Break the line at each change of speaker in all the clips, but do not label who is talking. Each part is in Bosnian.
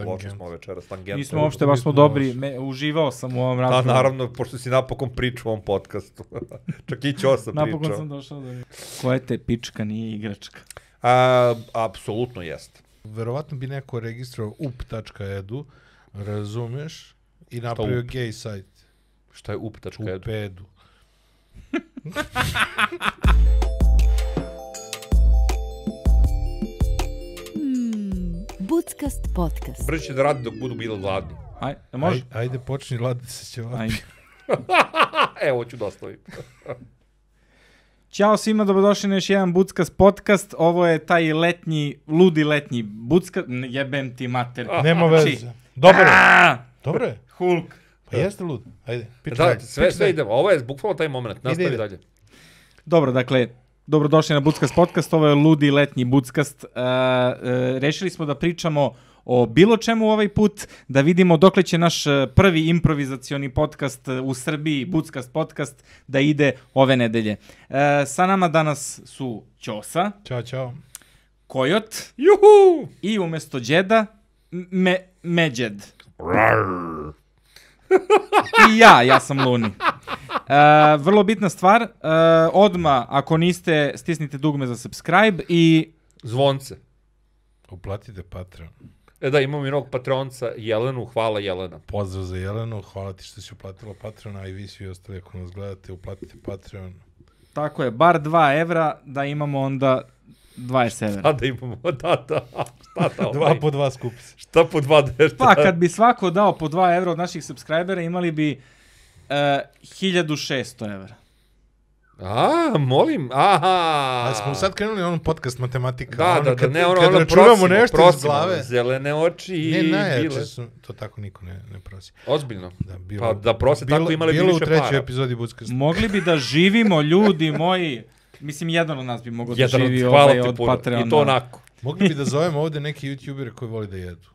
Loši smo večeras, tangent.
Mi smo uopšte, baš smo dobri, me, uživao sam u ovom
Pa
razgovoru.
naravno, pošto si napokon pričao u ovom podcastu. Čak i Ćo sam
Napokon
pričao.
sam došao do... Koja te pička nije igračka?
A, apsolutno jest.
Verovatno bi neko registrovao up.edu, razumeš, i napravio
up?
gay site.
Šta je uptačka? Up.
Upedu.
Mm, Budskast podcast.
Brže će da radi dok budu bili gladni.
Aj, može?
Aj, ajde, počni lada se će
Aj.
A, evo ću da ostavim.
Ćao svima, dobrodošli na još jedan Buckas podcast. Ovo je taj letnji, ludi letnji Buckas... n- Jebem ti mater.
Nema
Znači,
veze. Dobro je,
A,
dobro je.
Hulk.
Pa jeste lud. Ajde, pička.
Da, sve, sve idemo. Ovo je bukvalno taj moment. Nastavi
ide.
dalje.
Dobro, dakle, dobrodošli na Buckas podcast. Ovo je ludi letnji Buckas. Uh, uh, rešili smo da pričamo o bilo čemu ovaj put, da vidimo dokle će naš e, prvi improvizacioni podcast e, u Srbiji, Buckast podcast, da ide ove nedelje. E, sa nama danas su Ćosa,
Ćao, čao.
Kojot
Juhu!
i umjesto Đeda, m- me, Međed.
Rar.
I ja, ja sam Luni. E, vrlo bitna stvar, e, odma ako niste, stisnite dugme za subscribe i
Zvonce.
Uplatite Patreon.
E da, imamo i novog patronca Jelenu. Hvala Jelena.
Pozdrav za Jelenu, hvala ti što si uplatila Patreon, a i vi svi ostali ako nas gledate, uplatite Patreon.
tako je, bar 2 evra da imamo onda 20 evra.
A da imamo, da, da. Šta da ovaj?
Dva po dva skupi se.
Šta po dva dešta?
Pa kad bi svako dao po 2 evra od naših subscribera imali bi e, 1600 evra.
A, molim, aha.
A smo sad krenuli onom podcast matematika.
Da, da, da,
kad-
ne, ono,
kad
ono,
računamo
prosimo,
nešto
prosimo,
iz glave.
Zelene oči i
Ne, znači,
bile.
najjače su, to tako niko ne, ne prosi.
Ozbiljno.
Da, bilo,
Pa da prose tako imali bi
bilo
više
u trećoj
para.
epizodi Bucka.
Mogli bi da živimo, ljudi moji. Mislim, jedan od nas bi mogao da
Jedan od,
živi
hvala
ovaj,
ti
od
puno.
Patreona.
I to onako.
Mogli bi da zovemo ovde neke youtubere koji voli da jedu.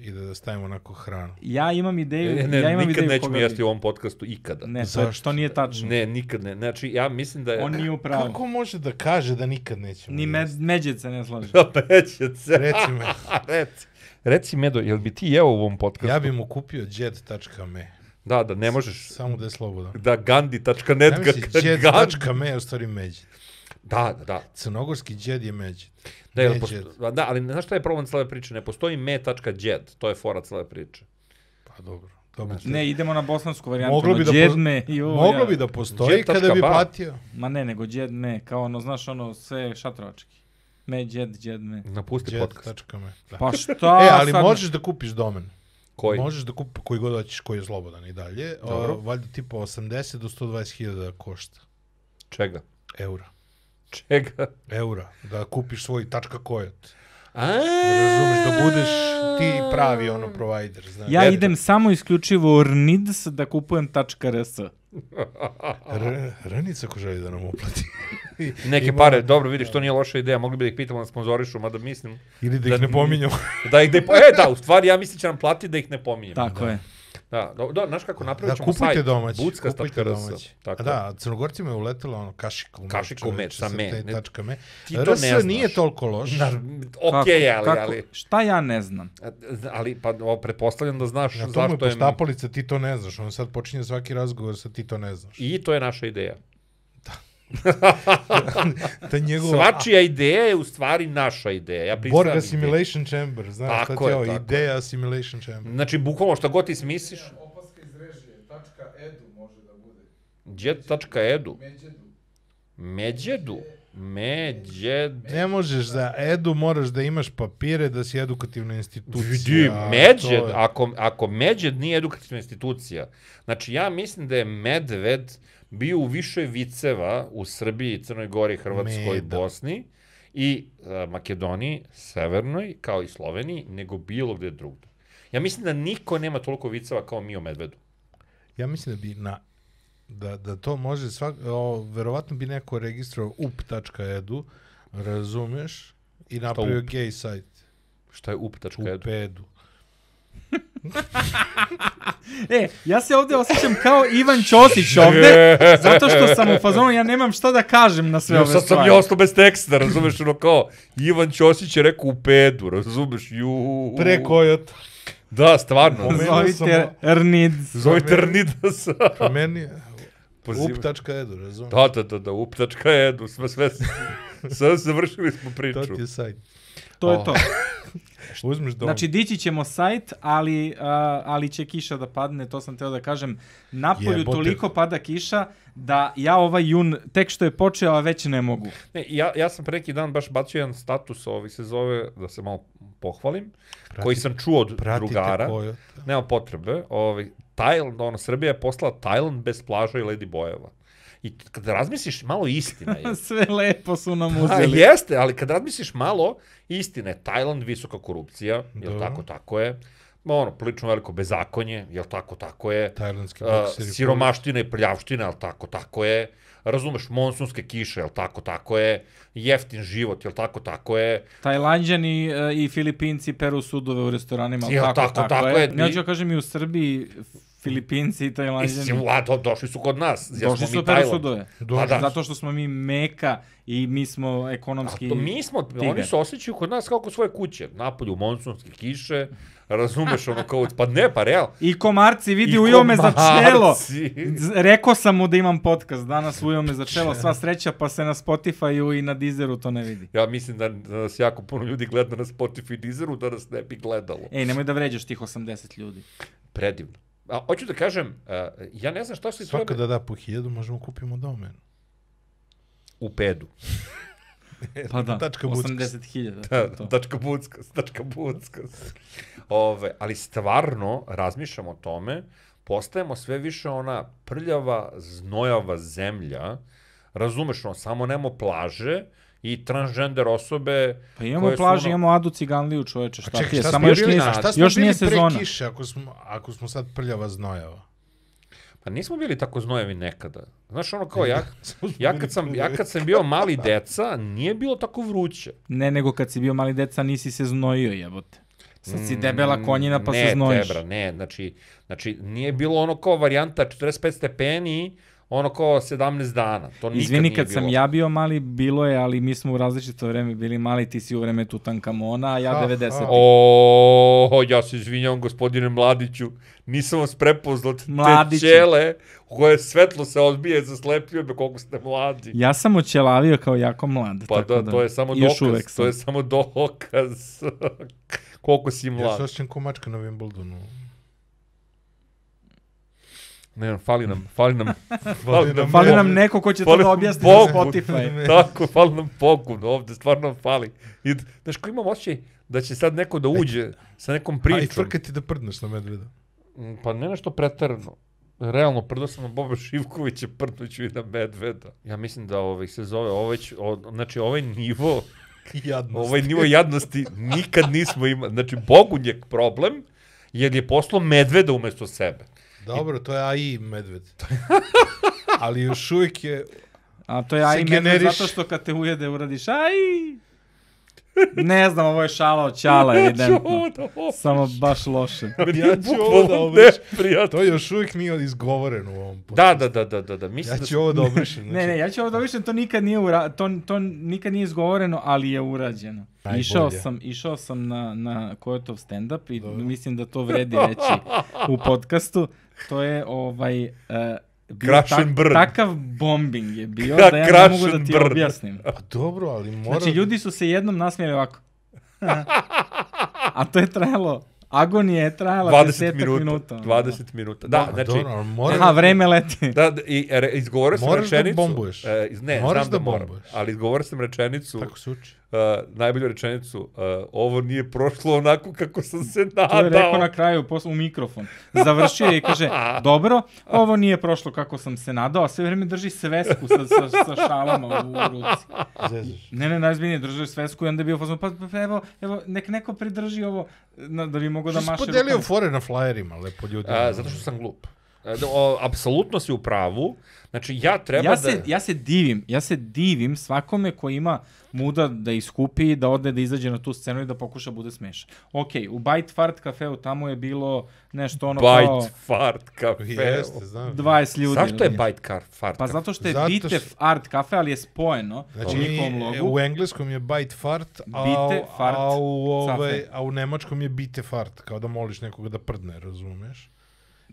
I da, da stavimo onako hranu.
Ja imam ideju,
Ne, ne,
ja imam
nikad
ideju
nećemo
koga
jesti
bi-
u ovom podcastu, ikada.
Ne, to,
Zašto?
što nije tačno.
Ne, nikad ne. Znači, ja mislim da je...
On nije u pravu.
Kako može da kaže da nikad nećemo?
Ni
jesti?
med, Međed se ne slaže.
Peće se.
Reci me,
A, reci. Reci, Medo, jel bi ti jeo u ovom podcastu?
ja bi mu kupio jet.me,
Da, da, ne možeš.
samo da je slobodan.
Da, gandhi.net.
Ja mislim,
ga- Gandhi.
jet.me je u stvari međi.
Da, da, da.
Crnogorski džed je međi.
Da, jel
Ne,
posto... da, ali znaš šta je problem cele priče? Ne postoji me.jed, to je fora cele priče.
Pa dobro. dobro ti-
Ne, idemo na bosansku varijantu.
Moglo bi da poz-
djedme, i ovo,
Moglo
ja.
bi da postoji
Jet.ba.
kada bi platio.
Ma ne, nego djedme, kao ono, znaš ono, sve šatrovački. Me, djed, djedme.
Napusti podcast.
Jet.me. Da.
Pa šta
E, ali
sad?
možeš da kupiš domen.
Koji?
Možeš da kupi koji god hoćeš, koji je slobodan i dalje.
Dobro.
O, valjda tipa 80 do 120 hiljada košta.
Čega?
Eura.
Čega?
Eura. Da kupiš svoj tačka kojot.
A,
Razumeš, da budeš ti pravi ono provider. Znaš.
Ja
Jer-
idem samo isključivo u Rnids da kupujem .rs.
R, Ranica ko želi da nam uplati.
Neke pare, dobro, vidiš, to nije loša ideja, mogli bi da ih pitamo da sponzorišu, mada mislim
Ili da
Da
ih ne
ni-
pominjamo.
da ih ne, po- e, da, u stvari ja mislim će nam platiti da ih ne pominjem.
Tako je.
Da, do, do, znaš kako napravit
Da,
ćemo sajt.
kupujte domaći. Kupujte
Buckas.rs.
domaći.
Tako.
A Da, Crnogorcima je uletelo ono kašika u meč.
Kašika u meč, sa me.
taj
Ne-
Tačka me.
Ti to
RS
ne znaš.
nije toliko loš.
Ok, je, ali,
kako,
ali,
Šta ja ne znam?
ali, pa o, pretpostavljam da znaš
Na tomu je
zašto je...
poštapalica, ti to ne znaš. On sad počinje svaki razgovor sa ti to ne znaš.
I to je naša ideja.
Ta njegova...
Svačija ideja je u stvari naša ideja. Ja pristajem
Borg
ideju.
Assimilation Chamber, znaš šta
Tako
ti
je,
je ovo,
tako
ideja Assimilation Chamber.
Znači, bukvalno šta god ti smisliš,
Opaska iz režije, tačka edu može da bude. Znači,
jet.edu,
Međedu.
međedu, međed...
Ne možeš za edu, moraš da imaš papire da si edukativna institucija.
Vidi,
a to
Međed,
je-
ako, ako Međed nije edukativna institucija, znači ja mislim da je Medved bio u više viceva u Srbiji, Crnoj Gori, Hrvatskoj,
Meda.
Bosni i e, Makedoniji, Severnoj, kao i Sloveniji, nego bilo gde drugde. Ja mislim da niko nema toliko viceva kao mi o Medvedu.
Ja mislim da bi na da, da to može svak, o, verovatno bi neko registrovao up.edu, razumeš, i napravio
up?
gay site,
Šta je up.edu?
upedu.
E, ja se ovdje osjećam kao Ivan Ćosić ovdje, zato što sam u fazonu, ja nemam šta da kažem na sve
Jo,
ove
sad sam
stvari.
ja ostao bez teksta, razumeš, ono kao, Ivan Ćosić je rekao u pedu, razumeš, ju.
Pre Kojota.
Da, stvarno.
Pomenuo
Zovite
sam-
Ernids.
Zove Trnida sa...
Ka meni
Poziva-
up.edu, razumiješ?
Da, da, da, da, uptačka edu, sve, sve, sve završili smo
To
priču.
ti je sajt.
To je to.
Uzmeš dom.
Znači, dići ćemo sajt, ali, a, ali će kiša da padne, to sam teo da kažem. Napolju
Jebote.
toliko pada kiša da ja ovaj jun, tek što je počeo, a već ne mogu.
Ne, ja, ja sam pre neki dan baš bacio jedan status, ovi se zove, da se malo pohvalim,
Pratite-
koji sam čuo od
pratite
drugara.
Kojota.
Nema potrebe. Ovaj, Tajland, ono, Srbija je poslala Tajland bez plaža i Lady Bojeva. I t- kada razmisliš, malo istina je.
Sve lepo su nam
A,
uzeli.
jeste, ali kad razmisliš malo, istina je, Tajland visoka korupcija, jel
Da.
tako, tako je. Ma, Ono, prilično veliko bezakonje, jel tako, tako je.
Tajlandski
A,
bokseri.
siromaština i prljavština, jel tako, tako je. Razumeš, monsunske kiše, jel tako, tako je. Jeftin život, jel tako, tako je.
Tajlanđani e, i Filipinci peru sudove u restoranima. ali
Ja,
tako,
tako,
tako,
tako
je.
je.
Ja ću da kažem i u Srbiji Filipinci i
I si,
Tajlanđani
a, do, došli su kod nas. jer smo
došli
mi
su peru
Tajland.
sudove.
Pa da.
Zato što smo mi meka i mi smo
A
ekonomski...
to mi smo, tiger. oni
tigar.
se osjećaju kod nas kao kod svoje kuće. Napolju, monsunske kiše, razumeš ono kao, pa ne, pa real.
I komarci, vidi,
I
ujo me za čelo.
komarci.
Z- Rekao sam mu da imam podcast danas, ujo me za čelo, sva sreća, pa se na Spotify-u i na Deezeru to ne vidi.
Ja mislim da, da nas jako puno ljudi gleda na Spotify i Deezeru, da nas ne bi gledalo.
Ej, nemoj da vređaš tih 80 ljudi.
Predivno. A, hoću da kažem, a, ja ne znam šta se
Svako
treba
da da po hiljadu možemo kupimo domen.
u pedu.
Pa da,
Tačka bucka.
80 hiljada.
Da,
to.
Dačka buckas, dačka buckas. Ove, ali stvarno razmišljam o tome, postajemo sve više ona prljava, znojava zemlja, razumeš, ono, samo nemo plaže i transgender osobe
Pa imamo
koje su
plaže,
ono-
imamo Adu Ciganliju, čoveče, šta ti je?
šta
Samo
smo
još
bili,
nije,
na-
šta smo
još
bili
nije
pre
sezona.
kiše ako smo, ako smo sad prljava znojava?
Pa nismo bili tako znojevi nekada. Znaš, ono kao ja, ja, kad sam, ja kad sam bio mali deca, nije bilo tako vruće.
Ne, nego kad si bio mali deca nisi se znojio, jebote. Sad si debela
Mm,
konjina pa
ne,
se znojiš.
Tebra, ne, znači, znači nije bilo ono kao varijanta 45 stepeni, ono kao 17 dana. To nikad
Izvini,
nije
kad
bilo.
sam ja bio mali, bilo je, ali mi smo u različito vreme bili mali, ti si u vreme Tutankamona, a ja
Aha.
90.
O, ja se izvinjam gospodine Mladiću, nisam vas prepoznao te
Mladiću.
ćele u koje svetlo se odbije, zaslepljuje me koliko ste mladi.
Ja sam oćelavio kao jako mlad.
pa
tako
da,
da,
to je samo
i još
dokaz,
uvek
to je
sam.
samo dokaz koliko si
Ja se
mlad.
osjećam ko mačka na Wimbledonu.
Ne, znam, fali nam, fali nam, fali nam,
Fali
Bog.
nam neko ko će to
Fali
da
nam
objasni na
Bog.
Spotify.
Tako, fali nam pogun ovde, stvarno nam fali. I, znaš, ko imam osjećaj da će sad neko
E,
da uđe sa nekom
Pričom. Aj,
pričom.
frkaj ti da prdneš na medveda.
Mm, Pa ne nešto pretarano. Realno, prdo sam na Boba Šivkovića, prdnuću i na Medveda. Ja mislim da ovaj se zove, ovaj, će- o, znači ovaj nivo,
Jadno.
ovaj nivo jadnosti nikad nismo imali. Znači, Bogun je problem, jer je poslao Medveda umjesto sebe.
Dobro, to je AI medved. Ali još uvijek je...
A to je aj meni
generiš.
zato što kad te ujede uradiš aj. Ne znam, ovo je šala od čala, evidentno. Samo baš loše.
Meni
Ja
je
ću ovaj- ovo
bukvalno
da obrišem.
neprijatno.
To još uvijek nije izgovoreno u ovom podcastu.
Da, da, da, da, da, da. Mislim
Ja
da
ću ovo da znači, obrišem.
Ne, ne, ja ću ovo da više, to nikad nije, ura, to, to nikad nije izgovoreno, ali je urađeno.
Najbolje.
Išao sam, išao sam na, na Kojotov stand-up i mislim da to vredi reći u podcastu. To je ovaj... Uh, bio
Crash and burn.
Takav bombing je bio
Ka-
da ja ne
crash
mogu da
and
ti
burn.
objasnim.
Pa dobro, ali mora...
Znači, ljudi su se jednom nasmijali ovako. A to je trajalo, agonija je trajala
20
desetak
minuta.
minuta. ono.
20 minuta. Da,
Pa
znači,
dobro, ali mora...
Aha, vreme leti.
Da, da, i e, re, izgovorio sam
Moraš da
rečenicu.
bombuješ.
E, iz- ne,
Moraš
znam da,
da
moram,
bombuješ.
Ali izgovorio sam rečenicu,
Tako se uči.
uh, najbolju rečenicu, uh, ovo nije prošlo onako kako sam se nadao.
To je rekao na kraju posle, u mikrofon. Završio je i kaže, dobro, ovo nije prošlo kako sam se nadao, a sve vreme drži svesku sa, sa, sa šalama u, u ruci.
Zezaš.
Ne, ne, najzbiljnije držao je svesku i onda je bio fazon, pa, pa, pa evo, evo, nek neko pridrži ovo na, da bi mogo da
Što si
maše
podelio fore na flyerima, lepo ljudi.
A, E, zato što sam glup. Uh, E, da, o, apsolutno si u pravu. Znači, ja treba
Ja se,
da...
ja se divim, ja se divim svakome ko ima muda da iskupi, da ode, da izađe na tu scenu i da pokuša bude smešan. Okej, u Bite Fart kafeu tamo je bilo nešto ono
Bite,
kao
fart, kafe.
Jeste, znam.
20 ljudi.
Zašto je
ili-
bite kar, fart?
Pa
kafe?
zato što je
Zato
Bite
što-
Art kafe, ali je spojeno
Znači,
u njihovom
i-
logu.
u engleskom je bite fart, a,
Bite, fart,
a, u, ovaj,
cafe.
a u nemačkom je bite fart, kao da moliš nekoga da prdne, razumeš?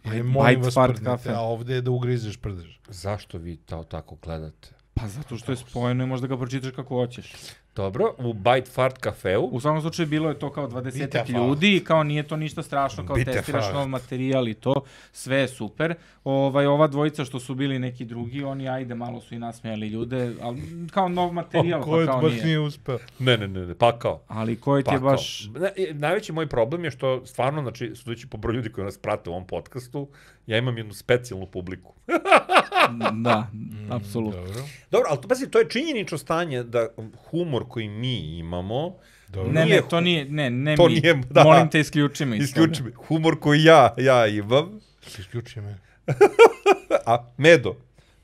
Ili
Bite-
molim
bite
vas
fart,
prdnite,
kafe.
a ovdje je da ugrizeš prdež.
Zašto vi to tako gledate?
Pa zato što je spojeno i možda ga pročitaš kako hoćeš.
Dobro, u Bite Fart kafeu
U svakom slučaju bilo je to kao 20
Bite
ljudi, kao nije to ništa strašno, kao
Bite
testiraš
fart.
nov materijal i to, sve je super. Ovaj, ova dvojica što su bili neki drugi, oni ajde malo su i nasmejali ljude, ali kao nov materijal, pa kao
baš
nije.
nije uspeo?
Ne, ne, ne, pa ne, pakao.
Ali koji ti je
Pakao.
baš...
Ne, i najveći moj problem je što stvarno, znači, sudeći po broju ljudi koji nas prate u ovom podcastu, ja imam jednu specijalnu publiku.
Da, apsolutno.
Dobro.
Dobro, ali to, pazi, to je činjenično stanje da humor koji mi imamo,
Dobro.
Ne, ne,
Nije-
to nije, ne, ne
To
mi.
nije- da.
Molim te, isključi me. iz toga.
isključi me, humor koji ja, ja imam,
Isključi me.
a Medo,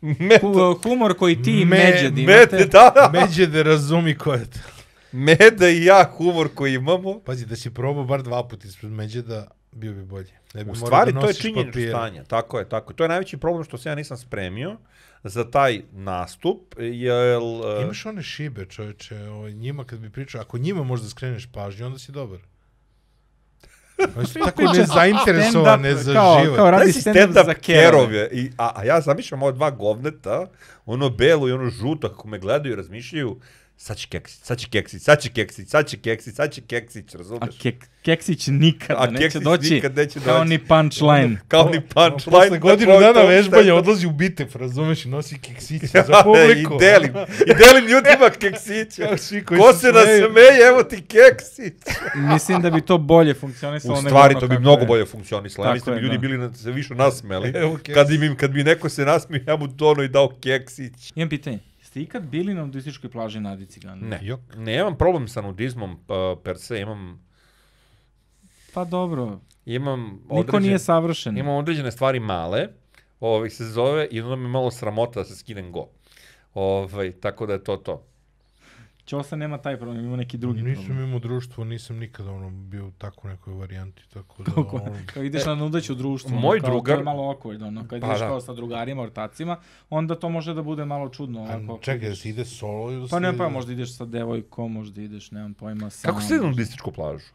Medo,
Hu- humor koji ti i
Me-
Međed
Mede,
imate.
da, da,
Međe da razumi ko je to.
Meda i ja humor koji imamo,
Pazi, da si probao bar dva puta ispred međe da bio bi bolje. Ne bi
U
morao
stvari,
da
to je
nosiš
činjenično
papire.
stanje. Tako je, tako je. To je najveći problem što se ja nisam spremio za taj nastup, jer... e,
Imaš one šibe, čoveče, ovaj, njima kad bi pričao, ako njima možda skreneš pažnju, onda si dobar. Oni su tako nezainteresovane
Stand-up,
za
kao-
život.
Kao radi
Radi
stand-up za kerove.
kerove. I, a, a ja zamišljam ova dva govneta, ono belo i ono žuto, kako me gledaju i razmišljaju, sad će keksić, sad će keksić, sad će keksić, sad će keksić, sad će keksić,
A
razumeš?
kek, Keksić nikada
A
neće
Keksić
doći,
nikad neće
kao
doći.
ni punchline.
Kao ni punchline.
Ono, Posle godinu
na tvoj
dana
tom e,
vežbanja
stand-upu.
odlazi u bitef, razumeš, i nosi keksiće za publiku.
I delim, i delim ljudima keksiće.
Kao svi koji
Ko
se
se
smeju.
nasmeje, evo ti keksić.
Mislim da bi to bolje funkcionisalo.
U
nego
stvari
ono
to bi
kako
mnogo
je.
bolje funkcionisalo. Ja
Tako
mislim da
je,
bi ljudi
da.
bili na, se više nasmeli.
Evo keksić.
kad, im, kad bi neko se nasmio, ja mu to ono i dao keksić.
Imam pitanje. Ste ikad bili na nudističkoj plaži na Adi Cigani?
Ne.
Jok.
Ne, imam problem sa nudizmom uh, per se, imam
Pa dobro,
imam
niko
određen,
nije savršen.
imam određene stvari male, ovaj se zove i onda mi je malo sramota da se skinem go. Ovaj tako da je to to.
Ćosa nema taj problem, ima neki drugi problem.
Nisam imao društvo, nisam nikada ono bio u tako nekoj varijanti, tako da...
Kako,
ono,
kao ideš na nudeću društvo,
E, moj
ono, kao,
drugar-
to je malo awkward, ono, kad
Pa
ideš
da.
kao sa drugarima, ortacima, onda to može da bude malo čudno. Ovako,
A, čekaj, da se ide solo ili da se
pa ne,
ide-
pa možda ideš sa devojkom, možda ideš, nemam pojma, sam.
Kako se ide na nudističku plažu?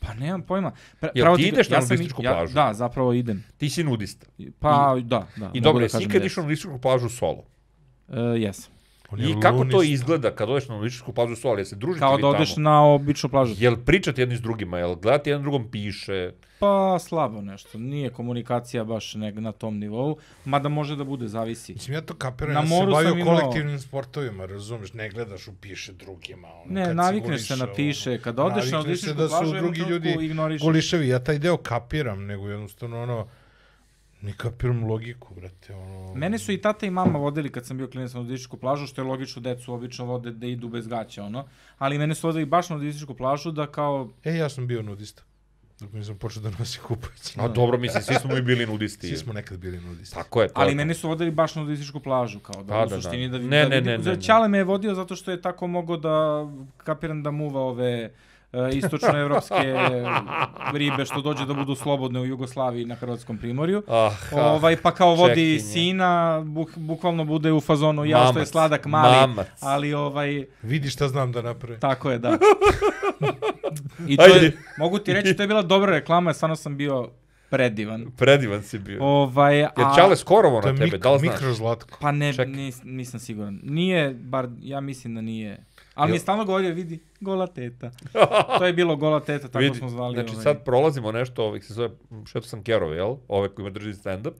Pa nemam pojma. Pra,
Jel
pravo
ti
ti ga-
ideš na
ja sam i-
nudističku
ja-
plažu?
Da, zapravo idem.
Ti si nudista.
Pa, da, da.
I
mogu
dobro,
da
jesi
kažem
ikad
da
išao na nudističku plažu solo?
jesam. E, jesam.
On je
I kako to
lunist.
izgleda kad odeš na nudističku plažu solo? Jel se družite
Kao
vi
da odeš
tamo?
na običnu plažu.
Jel pričate jedni s drugima, jel gledate jedan drugom piše?
Pa slabo nešto, nije komunikacija baš neg na tom nivou, mada može da bude, zavisi.
Mislim, ja to kapiram,
Na
ja se
moru sam
bavio
imao-
kolektivnim sportovima, razumeš, ne gledaš u piše drugima. Ono,
Ne,
kad
navikneš se
guliša,
na piše,
ono.
kad odeš na
Navikneš se
odličnu
da su
plažu,
drugi ljudi
ignoriš.
Guliševi, ja taj deo kapiram, nego jednostavno ono, ne kapiram logiku, brate, ono...
Mene su i tata i mama vodili kad sam bio klinac na nudističku plažu, što je logično, decu obično vode da idu bez gaća, ono. Ali mene su vodili baš na nudističku plažu da kao,
E, ja sam bio nudista, dok nisam počeo da nosi kupajući.
A dobro, mislim, svi smo mi bili nudisti.
Svi smo nekad bili nudisti.
Tako je, to
ali
je to.
mene su vodili baš na nudističku plažu, kao da,
Pa,
u
da, da.
suštini da, vi-
Ne,
da
ne,
vidim-
ne, ne,
Za-
ne.
Ćale me je vodio zato što je tako mogao da kapiram da muva ove e, istočnoevropske ribe što dođe da budu slobodne u Jugoslaviji na hrvatskom primorju.
Ah, Aha,
Ovaj, pa kao vodi
čekinje.
sina, buk, bukvalno bude u fazonu, ja što je
Mamac,
sladak mali,
mamac.
ali ovaj,
Vidi šta znam da napravim.
tako je, da. I to
Ajde.
je, mogu ti reći, to je bila dobra reklama, stvarno sam bio predivan.
predivan si bio.
Ovaj,
Jer
a,
Čale skorovo
To je
na tebe, da
mikro,
li znaš?
mikro zlatko.
pa ne,
čekaj.
nis, nisam siguran. Nije, bar, ja mislim da nije. Ali mi je
Jel-
stalno govorio, vidi, gola teta. To je bilo gola teta, tako
Vidi,
smo zvali.
Znači
ovaj.
sad prolazimo nešto, ovih se zove, šeto sam Kerove, jel? Ove koji ima drži stand-up.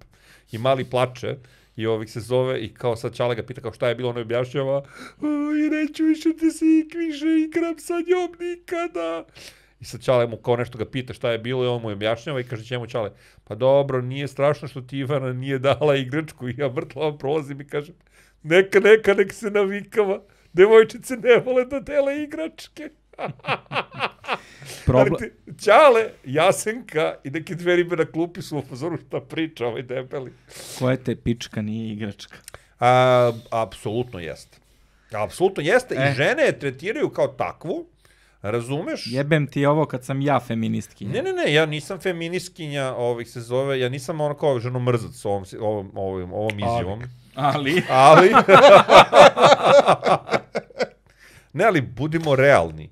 I mali plače. I ovih se zove i kao sad Čale ga pita kao šta je bilo, ono je objašnjava "O, i neću više ti se ikviše igram sa njom nikada. I sad Čale mu kao nešto ga pita šta je bilo i on mu je objašnjava i kaže njemu Čale pa dobro, nije strašno što ti Ivana nije dala igračku i ja vrtlavo prolazim i kažem neka, neka, nek se navikava. Devojčice ne vole da dele igračke. Problem...
Problem,
Ti, Ćale, Jasenka i neki dve ribe na klupi su u pozoru šta priča ovaj debeli.
koja te pička nije igračka.
A, apsolutno jeste. Apsolutno jeste. E.
E.
I žene je tretiraju kao takvu. Razumeš?
Jebem ti ovo kad sam ja feministkinja.
Ne, ne, ne, ja nisam feministkinja, ovih se zove, ja nisam ono kao ženomrzac ovom, si- ovom, ovom, ovom izjavom.
Ali,
Ali... ne, ali budimo realni.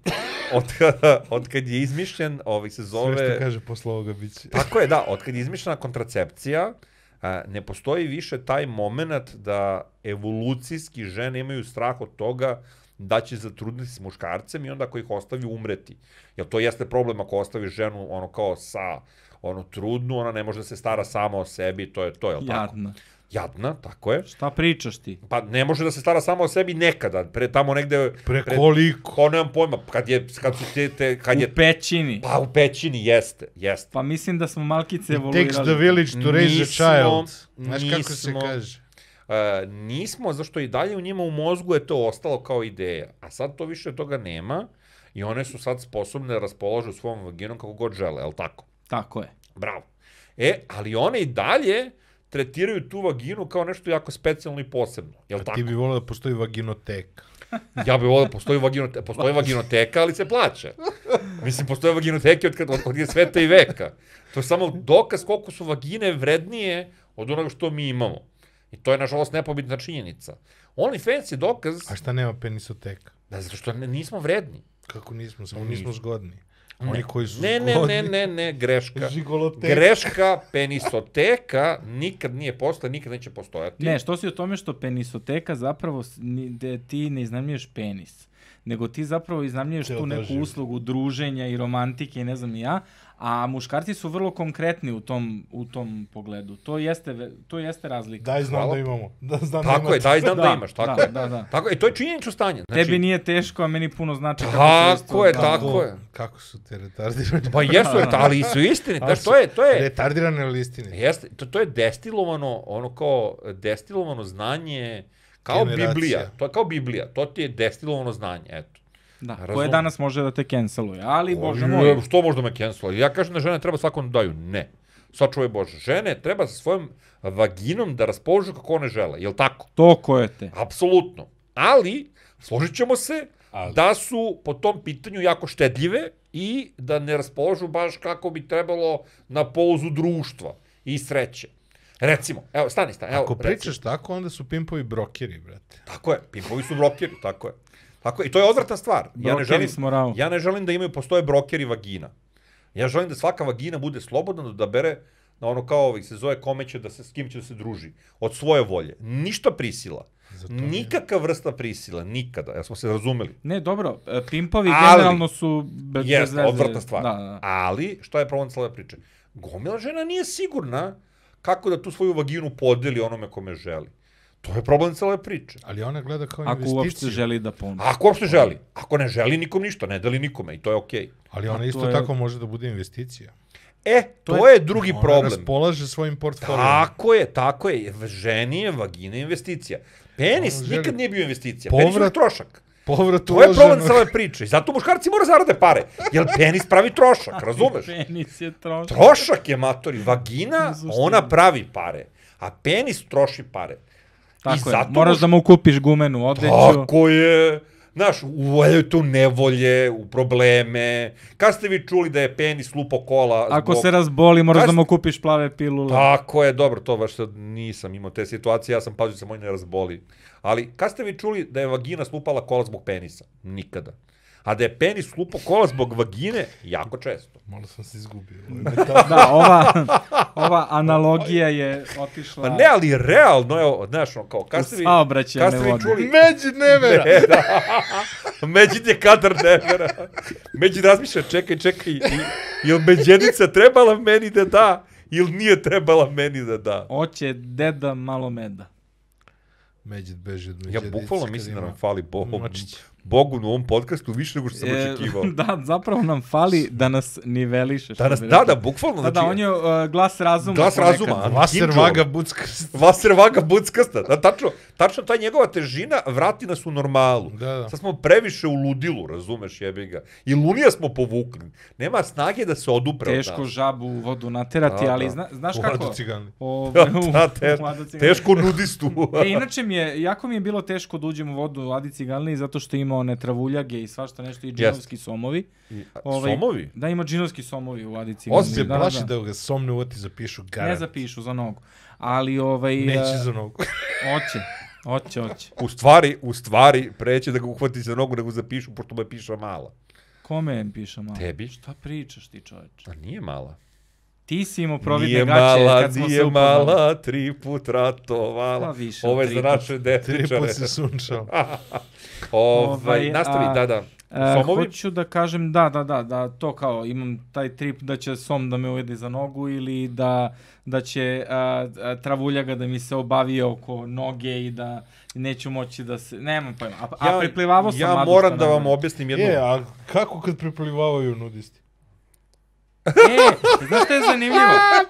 Od kada, od kad je izmišljen, ovih se
Sve što
zove...
kaže posle ovoga bit će.
Tako je, da, od kad je izmišljena kontracepcija, a, ne postoji više taj moment da evolucijski žene imaju strah od toga da će zatrudniti s muškarcem i onda ako ih ostavi umreti. Jer to jeste problem ako ostavi ženu ono kao sa ono trudnu, ona ne može da se stara sama o sebi, to je to, je li tako?
jadno.
Jadna, tako je.
Šta pričaš ti?
Pa ne može da se stara samo o sebi nekada, pre tamo negde...
Pre koliko?
Ko nemam pojma, kad je, kad su te, te kad je...
U pećini.
Pa u pećini, jeste, jeste.
Pa mislim da smo malkice
Takes the
evoluirali.
village to raise a
Nismo,
child. Znaš kako se
nismo.
kaže?
E, nismo, zašto i dalje u njima u mozgu je to ostalo kao ideja. A sad to više toga nema i one su sad sposobne da raspoložu svom vaginom kako god žele, je tako?
Tako je.
Bravo. E, ali one i dalje tretiraju tu vaginu kao nešto jako specijalno i posebno, je
A
tako?
ti bi volio da postoji vaginoteka.
Ja bih volio da postoji, vaginote, postoji vaginoteka, ali se plaća. Mislim, postoje vaginoteke od, kad, od, od je sveta i veka. To je samo dokaz koliko su vagine vrednije od onoga što mi imamo. I to je, nažalost, nepobitna činjenica. OnlyFans je dokaz
A šta nema penisoteka?
da zato što ne, nismo vredni.
Kako nismo, samo
Nismo.
nismo zgodni. Oni koji su
Ne, ne,
zgodni.
ne, ne, ne, greška.
Žigoloteka.
Greška penisoteka nikad nije postala, nikad neće postojati.
Ne, što si o tome što penisoteka zapravo s- ni- da ti ne iznajmljuješ penis, nego ti zapravo iznajmljuješ
Ceo
tu neku
doživljaj.
uslugu druženja i romantike i ne znam ni ja, a muškarci su vrlo konkretni u tom, u tom pogledu. To jeste, ve- to jeste razlika.
Daj znam
Hvala.
da imamo. Da znam da
Tako
imate.
je, daj znam da, imaš, tako
da,
je. Znači-
Da, da.
Tako je, i to je činjenično stanje. Znači,
Tebi nije teško, a meni puno znači kako se isto
Tako je,
da.
tako je.
Kako su te retardirane?
Pa jesu, jer ta- ali su istine.
Ali
Znaš,
su-
to je, to je, E,
Retardirane listine.
jeste, to, to je destilovano, ono kao e, destilovano znanje, kao
Generacija.
Biblija. To je kao Biblija, to ti je destilovano znanje, eto.
Da, koje
Razumem.
danas može da te canceluje, ali bože
Ju,
moj.
Što možda me cancela? Ja kažem da žene treba svakom daju. Ne. Sačuvaj Bože, žene treba sa svojom vaginom da raspoložu kako one žele, jel tako?
To koje te.
Apsolutno. Ali, složit ćemo se da su po tom pitanju jako štedljive i da ne raspoložu baš kako bi trebalo na pouzu društva i sreće. Recimo, evo, stani, stani. Evo,
Ako
recimo.
pričaš tako, onda su pimpovi brokeri, brate.
Tako je, pimpovi su brokeri, tako je. Tako je, i to je odvratna stvar. Ja ne
Brokeri
želim,
smo rao.
ja ne želim da imaju, postoje brokeri vagina. Ja želim da svaka vagina bude slobodna, da bere na ono kao ovih se zove kome će da se, s kim će da se druži. Od svoje volje. Ništa prisila.
Zato mi je-
Nikaka vrsta prisila, nikada. Ja smo se razumeli.
Ne, dobro, e, pimpovi
Ali-
generalno su be- bez
Jest,
veze.
odvratna stvar.
Da, da.
Ali, šta je problem cele priče? Gomila žena nije sigurna kako da tu svoju vaginu podeli onome kome želi. To je problem cele priče.
Ali ona gleda kao
Ako
investiciju.
uopšte želi da ponudi.
Ako uopšte želi. Ako ne želi nikom ništa, ne deli nikome i to je okej. Okay.
Ali ona
A
isto
to je-
tako može da bude investicija.
E, to,
To
je, drugi
ona
problem.
raspolaže svojim portfolijom.
Tako je, tako je. Ženi je vagina investicija. Penis
Ono želi-
nikad nije bio investicija. Penis je
Povrat-
trošak.
Povrat
To je problem
uloženog.
sa ove priče. I zato muškarci mora zarade pare. Jer penis pravi trošak, razumeš?
Penis je trošak.
Trošak je matori. Vagina,
Zašto?
ona pravi pare. A penis troši pare.
Tako je,
zato
moraš
muš-
da mu kupiš gumenu odeću.
Tako je. Znaš, uvaljaju tu nevolje, u probleme. Kad ste vi čuli da je penis lupo kola?
Ako
zbog- Pa-
se razboli, moraš
Kaš-
da mu kupiš plave pilule.
Tako je, dobro, to baš sad nisam imao te situacije, ja sam pazio da se moj ne razboli. Ali kad ste vi čuli da je vagina slupala kola zbog penisa? Nikada. A da je penis slupo kola zbog vagine? Jako često.
Malo sam se izgubio.
Da, ova, ova analogija je otišla
Pa ne, ali realno, evo, znaš, ono, kao, kad ste vi,
saobraćajne
kad ste vi
vode.
čuli...
Međi nevera!
E, da. Međid je kadar nevera. Međid razmišlja, čekaj, čekaj, i- jel međenica trebala meni da da, ili nije trebala meni da da?
Oće deda malo meda.
Međid beži od
Ja
međedice.
bukvalno mislim da nam fali bo,
mačić.
Bogu na ovom podcastu više nego što sam očekivao.
E, da, zapravo nam fali da nas niveliše. što
Da, nas,
bi
da,
rekao.
da, bukvalno. znači,
Da, da, on je uh, glas razuma.
Glas
ponekad.
razuma.
Vaser
Kinčo.
vaga buckast.
Vaser vaga buckasta. Da, tačno, tačno ta njegova težina vrati nas u normalu.
Da, da.
Sad smo previše u ludilu, razumeš jebi ga. I lunija smo povukli. Nema snage da se odupravo.
Teško žabu u vodu naterati,
Da,
ali
da.
zna, znaš
U
kako?
Adu cigani.
Ove, u-
Da, da, te,
u Adu cigani.
teško nudistu.
E, inače mi je, jako mi je bilo teško da uđem u vodu u Adi Cigalni zato što ima one travuljage i svašta nešto i džinovski somovi.
I- a,
Ovaj,
Somovi?
Da, ima džinovski somovi u Adi Cigalni.
Ozbilj
da,
plaši
da, da.
da ga somne uvati zapišu
Ne
garant.
zapišu za nogu. Ali ovaj...
Neće
e,
za nogu.
Oće, oće, oće.
U stvari, u stvari, preće da ga uhvati za nogu, nego zapišu, pošto mu je piša mala.
Kome piše malo?
Tebi?
Šta pričaš ti čoveče?
A nije mala.
Ti si imao providne
nije
gaće
mala,
kad smo
nije
se upoznali.
mala, tri put
Pa
ratovala.
više od
Ovo je
tri
za
put.
naše
Tri
detičare.
put se sunčao.
Ovaj,
Ovaj,
nastavi,
a-
da, da.
E,
Somovi?
hoću da kažem, da, da, da, da, to kao, imam taj trip da će som da me ujede za nogu ili da, da će a, a, travuljaga da mi se obavi oko noge i da neću moći da se, nemam pojma, a, a preplivavo sam
Ja
Adu,
moram
šta
da
ne
vam
znam.
objasnim jednu...
E, a kako kad priplivavaju nudisti?
E, znaš što je zanimljivo?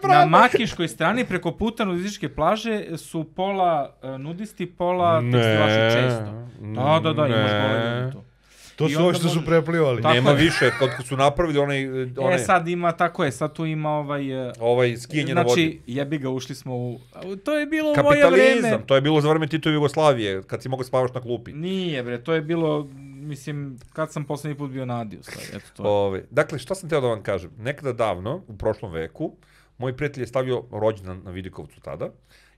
Na makiškoj strani preko puta nudističke plaže su pola e, nudisti, pola tekstilaši često. Da, da, da, imaš gole ljudi tu.
To
I
su
onda
ovi što su
može-
preplivali.
Tako
Nema
je.
više, kod kad su napravili onaj,
E,
onaj
sad ima, tako je, sad tu ima ovaj... e,
ovaj skijenje na vodi.
Znači, jebi ga, ušli smo u... u- To je bilo u moje vreme.
Kapitalizam, to je bilo za vreme Titove Jugoslavije, kad si mogao spavaš na klupi.
Nije, bre, to je bilo, mislim, kad sam poslednji put bio na Adiju, stvari, eto to. je.
Ove, dakle, šta sam teo da vam kažem? Nekada davno, u prošlom veku, moj prijatelj je stavio rođendan na Vidikovcu tada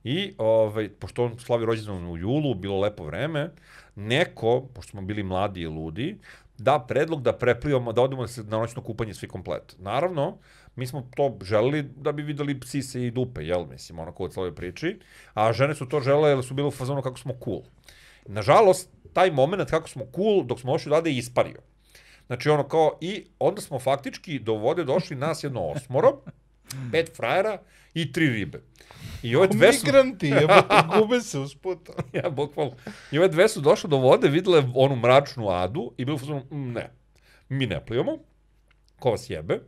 i, ovaj, pošto on slavi rođendan u julu, bilo lepo vreme, neko, pošto smo bili mladi i ludi, da predlog da preplivamo, da odemo se na noćno kupanje svi komplet. Naravno, mi smo to želeli da bi videli psise i dupe, jel, mislim, onako od svojoj priči, a žene su to žele jer su bile u fazonu kako smo cool. Nažalost, taj moment kako smo cool, dok smo došli odade, je ispario. Znači ono kao i onda smo faktički do vode došli nas jedno osmoro, pet frajera i tri ribe. I ove dve su,
Migranti, jebote, gube se usput.
ja, bukvalno, i ove dve su došle do vode, videle onu mračnu adu i bili u fazonu, "Mm, ne, mi ne plivamo, ko vas jebe.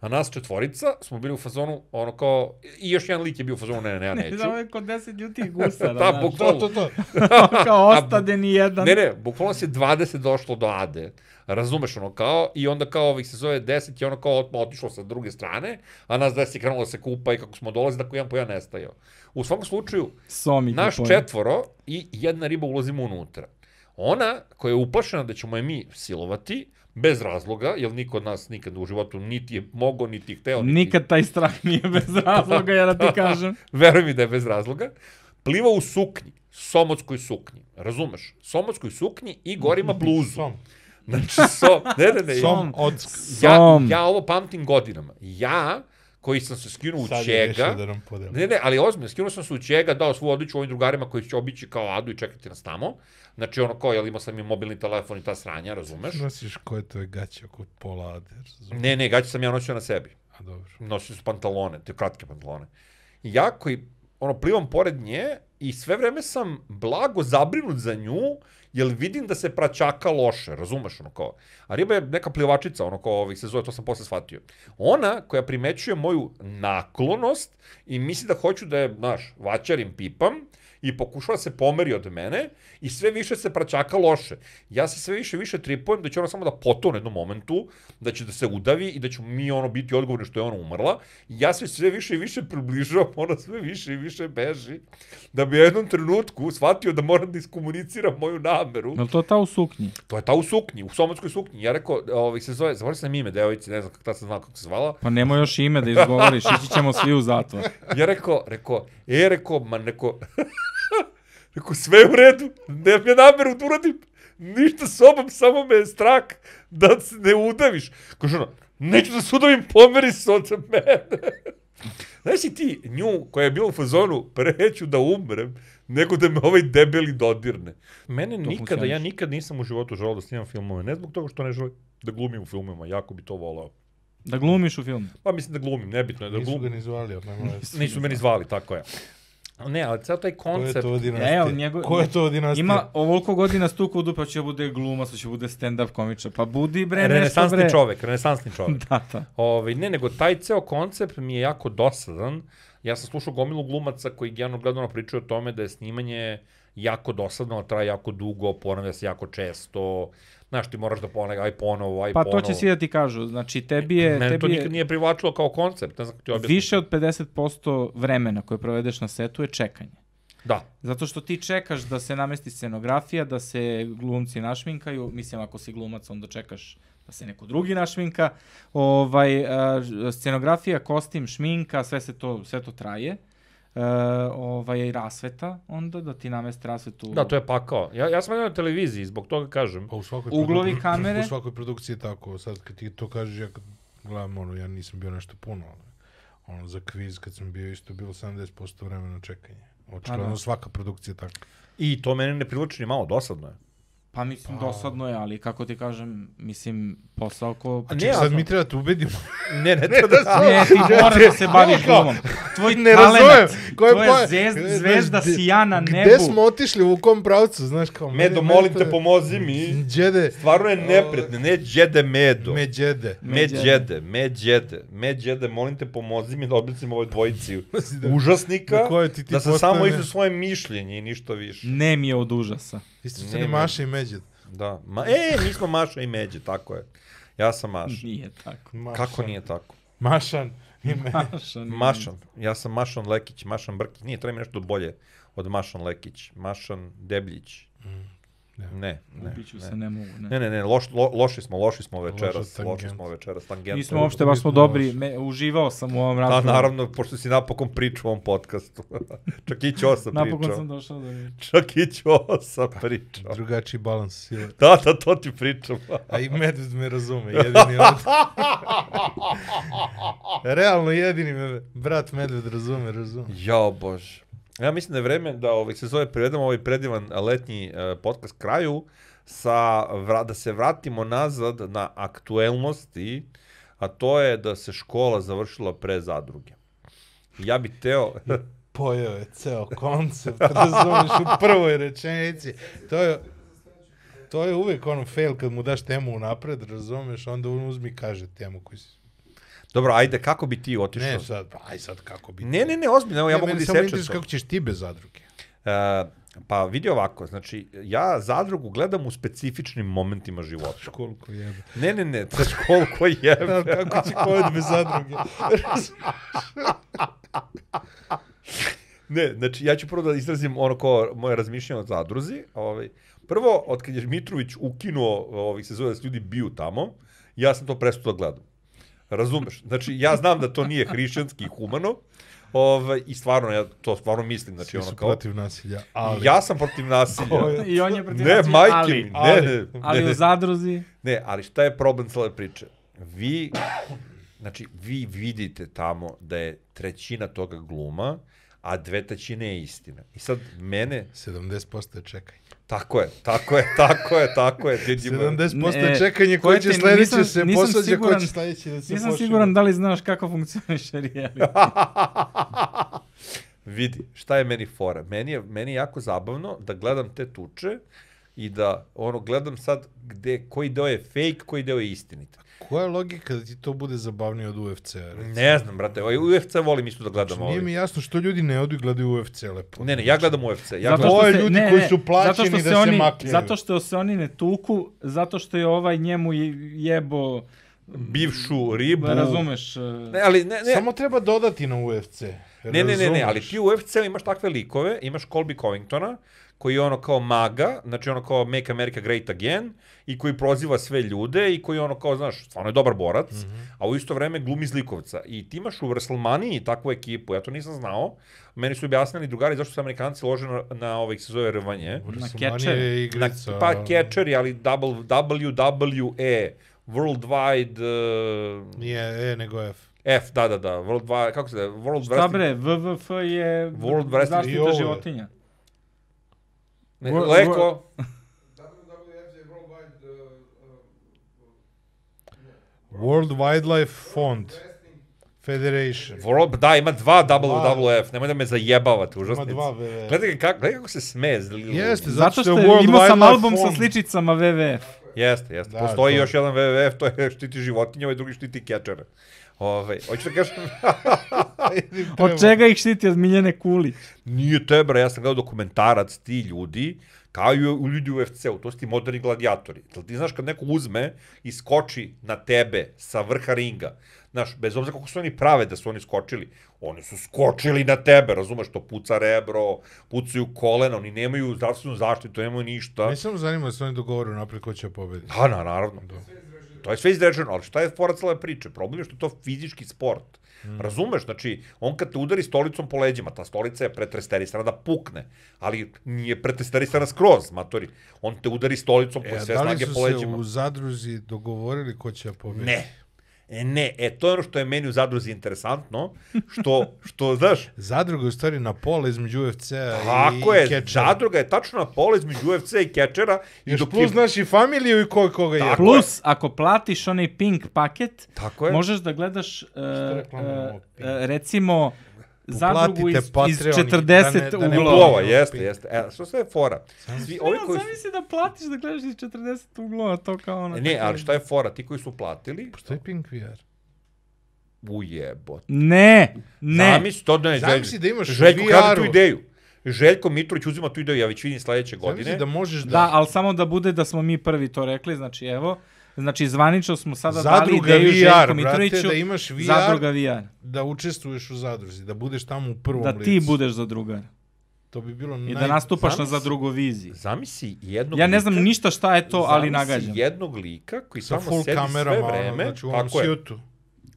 A nas četvorica smo bili u fazonu, ono kao, i još jedan lik je bio u fazonu, ne, ne, ne, ja neću.
Da, ovo je kod deset ljutih gusa,
Da,
da,
bukvalno.
To, to, to.
da, kao
A-
ostade ni jedan.
Ne, ne, bukvalno se 20 došlo do Ade. Razumeš ono kao, i onda kao ovih se zove 10 i ono kao otma otišlo sa druge strane, a nas 10 je krenulo da se kupa i kako smo dolazi, tako jedan po jedan nestajao. U svakom slučaju,
Somi,
naš
kuponi.
četvoro i jedna riba ulazimo unutra. Ona koja je uplašena da ćemo je mi silovati, bez razloga, jer niko od nas nikad u životu niti je mogao, niti hteo, niti
Nikad taj strah nije bez razloga, ja da ti kažem.
veruj mi da je bez razloga, pliva u suknji, somotskoj suknji, razumeš? Somotskoj suknji i gorima bluzu.
Som.
Znači, so, ne, ne, ne,
Som od...
ja,
Som.
ja ovo pamtim godinama. Ja, koji sam se skinuo u
Sad je rešio
čega,
da nam podeli.
Ne, ne, ali ozbiljno, skinuo sam se u čega, dao svu odliču ovim drugarima koji će obići kao adu i čekati nas tamo. Znači ono kao, jel imao sam i mobilni telefon i ta sranja, razumeš?
Nosiš koje to je gaće oko pola ade, razumiješ?
Ne, ne, gaće sam ja nosio na sebi.
A dobro.
nosili su pantalone, te kratke pantalone. I ja koji, ono, plivam pored nje i sve vreme sam blago zabrinut za nju, jer vidim da se praćaka loše, razumeš, ono kao. A riba je neka plivačica, ono kao ovih se zove, to sam posle shvatio. Ona koja primećuje moju naklonost i misli da hoću da je, znaš, vaćarim pipam, i pokušava da se pomeri od mene i sve više se praćaka loše. Ja se sve više i više tripujem da će ona samo da potone u jednom momentu, da će da se udavi i da ćemo mi ono biti odgovorni što je ona umrla. Ja se sve više i više približavam, ona sve više i više beži, da bi u jednom trenutku shvatio da moram da iskomuniciram moju nameru.
Je li to ta u suknji?
To je ta u suknji, u somatskoj suknji. Ja rekao, ovaj, se zove, zaboravio sam ime devojci, ne znam kako tad sam znao kako se zvala,
Pa nemoj još ime da izgovoriš, ići ćemo svi u zatvor.
Ja rekao, rekao, e, rekao, ma neko, rekao, sve je u redu, nemam ja nameru da uradim ništa sobom, samo me je strah da se ne udaviš. Kaže ono, neću da se udavim, pomeri se od mene. Znaš li ti nju koja je bila u fazonu, preću da umrem, nego da me ovaj debeli dodirne. Mene nikada, ja
funkcioniše.
nikad nisam u životu želao da snimam filmove, ne zbog toga što ne želim da glumim u filmovima, jako bi to volao.
Da glumiš u filmu.
Pa mislim da glumim, nebitno je da
Nisu ga
glumim.
ni zvali, ali nema veze.
Nisu meni zvali, tako je. Ne, ali ceo taj
Ko je
koncept...
to
E,
dinastija?
ali njegov-
Ko je to dinastija?
Ima ovoliko godina stuka u dupe, hoće da bude glumac, hoće da bude stand-up komičar. Pa budi bre, nešto
renesansni
bre.
čovek, renesansni čovek.
Da, da.
Ove, ne, nego taj ceo koncept mi je jako dosadan. Ja sam slušao gomilu glumaca koji generalno gledano ono pričaju o tome da je snimanje jako dosadno, traje jako dugo, ponavlja se jako često. Znaš, ti moraš da ponega, aj ponovo, aj
Pa
ponovo.
to će svi da ti kažu. Znači, tebi je,
Mene to
tebi je
nikad nije privlačilo kao koncept, ne znam kako ti objasnim.
više od 50% vremena koje provedeš na setu je čekanje.
Da,
Zato što ti čekaš da se namesti scenografija, da se glumci našminkaju, mislim ako si glumac onda čekaš da se neko drugi našminka, ovaj, a, ž- scenografija, kostim, šminka, sve se to, sve to traje. E, ovaj, rasveta, onda da ti namesti rasvetu.
da, to je pakao. Ja, ja sam gledao na televiziji, zbog toga kažem.
Pa u svakoj
Uglovi
produ-
kamere.
U svakoj produkciji je tako. Sad kad ti to kažeš, ja kad gledam, ono, ja nisam bio nešto puno, ali ono, za kviz kad sam bio isto bilo 70% vremena čekanje.
Pa da.
Očigledno svaka produkcija je tako.
I to mene ne privlači ni malo, dosadno je.
Pa mislim, dosadno je, ali kako ti kažem, mislim, posao ko...
A
Čekaj, Znači, sad
jasno.
mi treba da te ubedimo.
Ne, ne, treba da se...
Ne, ti moraš da se baviš glumom. Tvoj
Ne
talent,
razumem. Koje
tvoja
poje-
zvezd,
Znaš,
zvezda
gde-
sija na nebu.
Gde smo otišli, u kom pravcu, znaš kao...
Medo,
meni-
molim
meni
te,
to-
pomozi mi.
Đede,
Stvarno je neprijatno, ne djede medo.
me đede.
Međede, međede, međede, molim te pomozi mi da objasnim ovoj dvojici užasnika,
na kojoj ti ti
da se
postane-
samo izdu svoje mišljenje i ništa više.
Nem je od užasa.
Isto
Ne,
se ne
ne.
maše i međed.
Da. Ma, e, mi smo Maša i Međe, tako je. Ja sam Maša.
Nije tako.
Kako nije tako?
Mašan i me...
Mašan.
Mašan, ja sam Mašan Lekić, Mašan Brkić, nije, treba mi nešto bolje od Mašan Lekić, Mašan Debljić.
ne.
Ne, ne,
Ubiću se,
ne.
ne mogu. Ne.
Ne, ne, ne, loš, lo, loši smo, loši smo večeras,
tangent.
loši smo večeras, tangent.
Nismo uopšte, baš smo dobri. Me, uživao sam u ovom
A
razgovoru.
naravno, pošto si napokon pričao u ovom podcastu. Čak i Ćo sam pričao.
Napokon sam došao do njega.
Čak i Ćo sam pričao.
Drugačiji balans sile.
Da, da, to ti pričam.
A i medved me razume, jedini od... Realno jedini me, brat medved razume, razume.
Jao bože. Ja mislim da je vreme da ovaj, se zove privedemo ovaj predivan letnji eh, podcast kraju, sa, vra, da se vratimo nazad na aktuelnosti, a to je da se škola završila pre zadruge. Ja bih teo...
Pojeo je ceo koncept, razumeš, u prvoj rečenici. To je, to je uvijek ono fail kad mu daš temu unapred, razumeš, onda on uzmi i kaže temu koju si...
Dobro, ajde, kako bi ti otišao?
Ne, sad, pa, aj sad kako bi...
Ne, ne, ne, ozbiljno, evo ja
Ne,
mogu
mene
da
samo
isečem
interesuje
to.
kako ćeš ti bez zadruge.
E, pa vidi ovako, znači, ja zadrugu gledam u specifičnim momentima života.
Školko jebe.
Ne, ne, ne, sa školu koji je.
kako će kovet bez zadruge?
Ne, znači, ja ću prvo da izrazim ono ko moje razmišljanje o zadruzi. Ovaj, prvo, od kad je Mitrović ukinuo ovih sezona da se ljudi biju tamo, ja sam to prestao da gledam. Razumeš? Znači, ja znam da to nije hrišćanski i humano, ovaj, i stvarno, ja to stvarno mislim. Znači,
Svi
ono
su
kao,
protiv nasilja, ali...
ja sam protiv
Ko
nasilja.
je?
I on je protiv
Ne,
nacije,
majke mi,
ali,
ne, ne,
ali
ne, ne.
u zadruzi.
Ne, ali šta je problem cele priče? Vi, znači, vi vidite tamo da je trećina toga gluma, a dve trećine je istina. I sad mene,
70% je čekaj.
tako je, tako je, tako je, tako je, vidimo.
70%
Ne,
je čekanje koji
koje
će
te-
sledeće
nisam-
se
nisam
posvađa, koji
siguran-
će sledeće da se
Nisam
pošima.
siguran da li znaš kako funkcioniše reality.
Vidi, šta je meni fora? Meni je, meni je jako zabavno da gledam te tuče i da ono gledam sad gde, koji deo je fake, koji deo je istinit.
Koja je logika da ti to bude zabavnije od UFC-a?
Ne znam, brate, ovaj UFC volim isto da gledam
Znači, nije mi
ovaj.
jasno što ljudi ne odu i gledaju UFC lepo.
Ne, ne, ja gledam UFC. Ja
Zato
gledam...
što
Ovo je
se-
ljudi koji su plaćeni
zato što
da se
oni,
makljaju.
Zato što se oni ne tuku, zato što je ovaj njemu je- jebo,
bivšu ribu.
razumeš, e,
Ne, ali ne, ne,
Samo treba dodati na UFC.
Ne, ne, ne, ne, ali
razumeš?
ti u UFC-u imaš takve likove, imaš Colby Covingtona, koji je ono kao maga, znači ono kao Make America Great Again, i koji proziva sve ljude, i koji ono kao, znaš, stvarno je dobar borac, mm
Mhm.
-hmm. a u isto vreme glumi zlikovca. I ti imaš u WrestleManiji takvu ekipu, ja to nisam znao, meni su objasnili drugari zašto se Amerikanci lože na, na ovih se zove rvanje.
na
Wrestlemania
catcher.
je
Na,
igrica,
pa
ono,
catcheri, ali double- WWE, Worldwide... Uh,
Nije E nego F.
F, da, da, da, Worldwide, kako se da, World
Šta
Wrestling
bre, WWF je
World Wrestling-
I
zaštita
ovo je.
životinja.
Ne,
Wo-
Leko,
WWF je worldwide uh, uh,
World Wildlife Fund. Federation.
World, da, ima dva WWF, nemoj da me zajebavate, užasnici.
dva WWF.
Gledaj, ga kako, gledaj kako se smeje. z-
Jeste,
Zato što
je
je imao sam
Wildlife
album sa
Fond.
sličicama WWF.
Jeste, jeste.
Da,
Da, Postoji
to-
to... još jedan WWF, to je štiti životinje, ovaj drugi štiti kečere. Ove, hoću da kažem,
Od čega ih štiti od Miljane Kulić?
nije tebra, ja sam gledao dokumentarac ti ljudi, kao i u ljudi u UFC-u, to su ti moderni gladijatori. Jel ti znaš kad neko uzme i skoči na tebe sa vrha ringa, znaš, bez obzira kako su oni prave da su oni skočili, oni su skočili na tebe, razumeš, to puca rebro, pucaju kolena, oni nemaju zdravstvenu zaštitu, nemaju ništa.
Mi samo Pa, zanima se oni dogovoru naprijed ko će pobediti.
Da, na, naravno. To je sve izrečeno, ali šta je fora cele priče? Problem je što je to fizički sport. Mm. Razumeš, znači, on kad te udari stolicom po leđima, ta stolica je pretresterisana da pukne, ali nije pretresterisana skroz, matori. On te udari stolicom po
E,
e,
a
sve
da li
snage
su
po
se
leđima.
u zadruzi dogovorili ko će pobediti?
Ne. E, ne, e, to je ono što je meni u zadruzi interesantno, što, što, znaš,
Zadruga je u stvari na pola između UFC-a i,
Tako
i
je,
Catchera.
zadruga je tačno na pola između UFC i kečera.
Još plus znaš i familiju i ko koga je.
Tako
Plus, ako platiš onaj pink paket,
Tako je.
možeš da gledaš, uh,
reklamamo
uh,
Pink?
uh, recimo, zadrugu
Uplatite
iz, iz
Patreon i
40
da ne- da ne
uglova.
Uglova, jeste, jeste. E, što sve je fora? Svi, ovi
Ja,
koji su...
zamisli da platiš da gledaš iz 40 uglova, to kao ono...
Ne, ali šta je fora? Ti koji su platili,
Što je Pink VR?
ujebot.
Ne, ne.
Zamisli to da ne
Zamisli da imaš u
Željko krađe tu
VR-u.
ideju. Željko Mitrović uzima tu ideju, ja već vidim sljedeće godine.
Godine? da možeš da...
Da, ali samo da bude da smo mi prvi to rekli, znači evo, znači zvanično smo sada dali
Zadruga
ideju
VR,
Željko
brate,
Mitroviću,
da imaš VR,
zadruga VR,
da učestvuješ u zadruzi, da budeš tamo u prvom
da
licu.
ti budeš zadrugar
To bi bilo
i
naj...
da nastupaš na
zamisli-
zadrugoviziji.
Zamisli jednog
Ja ne znam
lika-
ništa šta je to,
zamisli
ali nagađam.
jednog lika koji
Sa
samo
full
sedi sve
kamerama,
vreme,
vreme, ono, znači u ovom
tako je,
sjutu.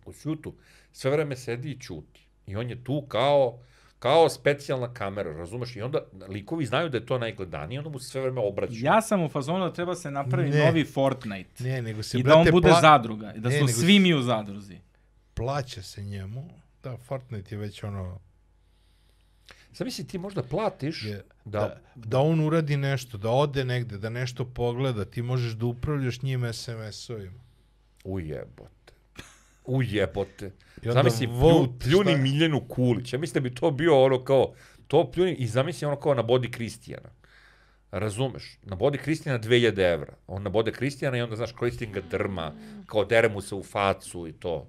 u šutu, sve vreme sedi i ćuti. I on je tu kao, kao specijalna kamera, razumeš? I onda likovi znaju da je to najgledanije, onda mu se sve vreme obraćaju.
Ja sam u fazonu da treba se napravi
Ne.
novi Fortnite.
Ne, nego se,
I da
brate,
on bude
pla...
zadruga. I da
Ne,
smo
nego-
svi mi u zadruzi.
plaća se njemu. Da, Fortnite je već ono...
Zamisli ti možda platiš
Je,
da,
da, da on uradi nešto, da ode negde, da nešto pogleda, ti možeš da upravljaš njim SMS-ovima.
Ujebote. Ujebote.
I onda
Zamisli,
vote,
plju, pljuni
šta je?
Miljenu Kulić. Ja mislim da bi to bio ono kao, to pljuni i zamisli ono kao na bodi Kristijana. Razumeš? Na bodi Kristijana 2000 evra. On na bode Kristijana i onda, znaš, Kristijan ga drma, kao dere mu se u facu i to.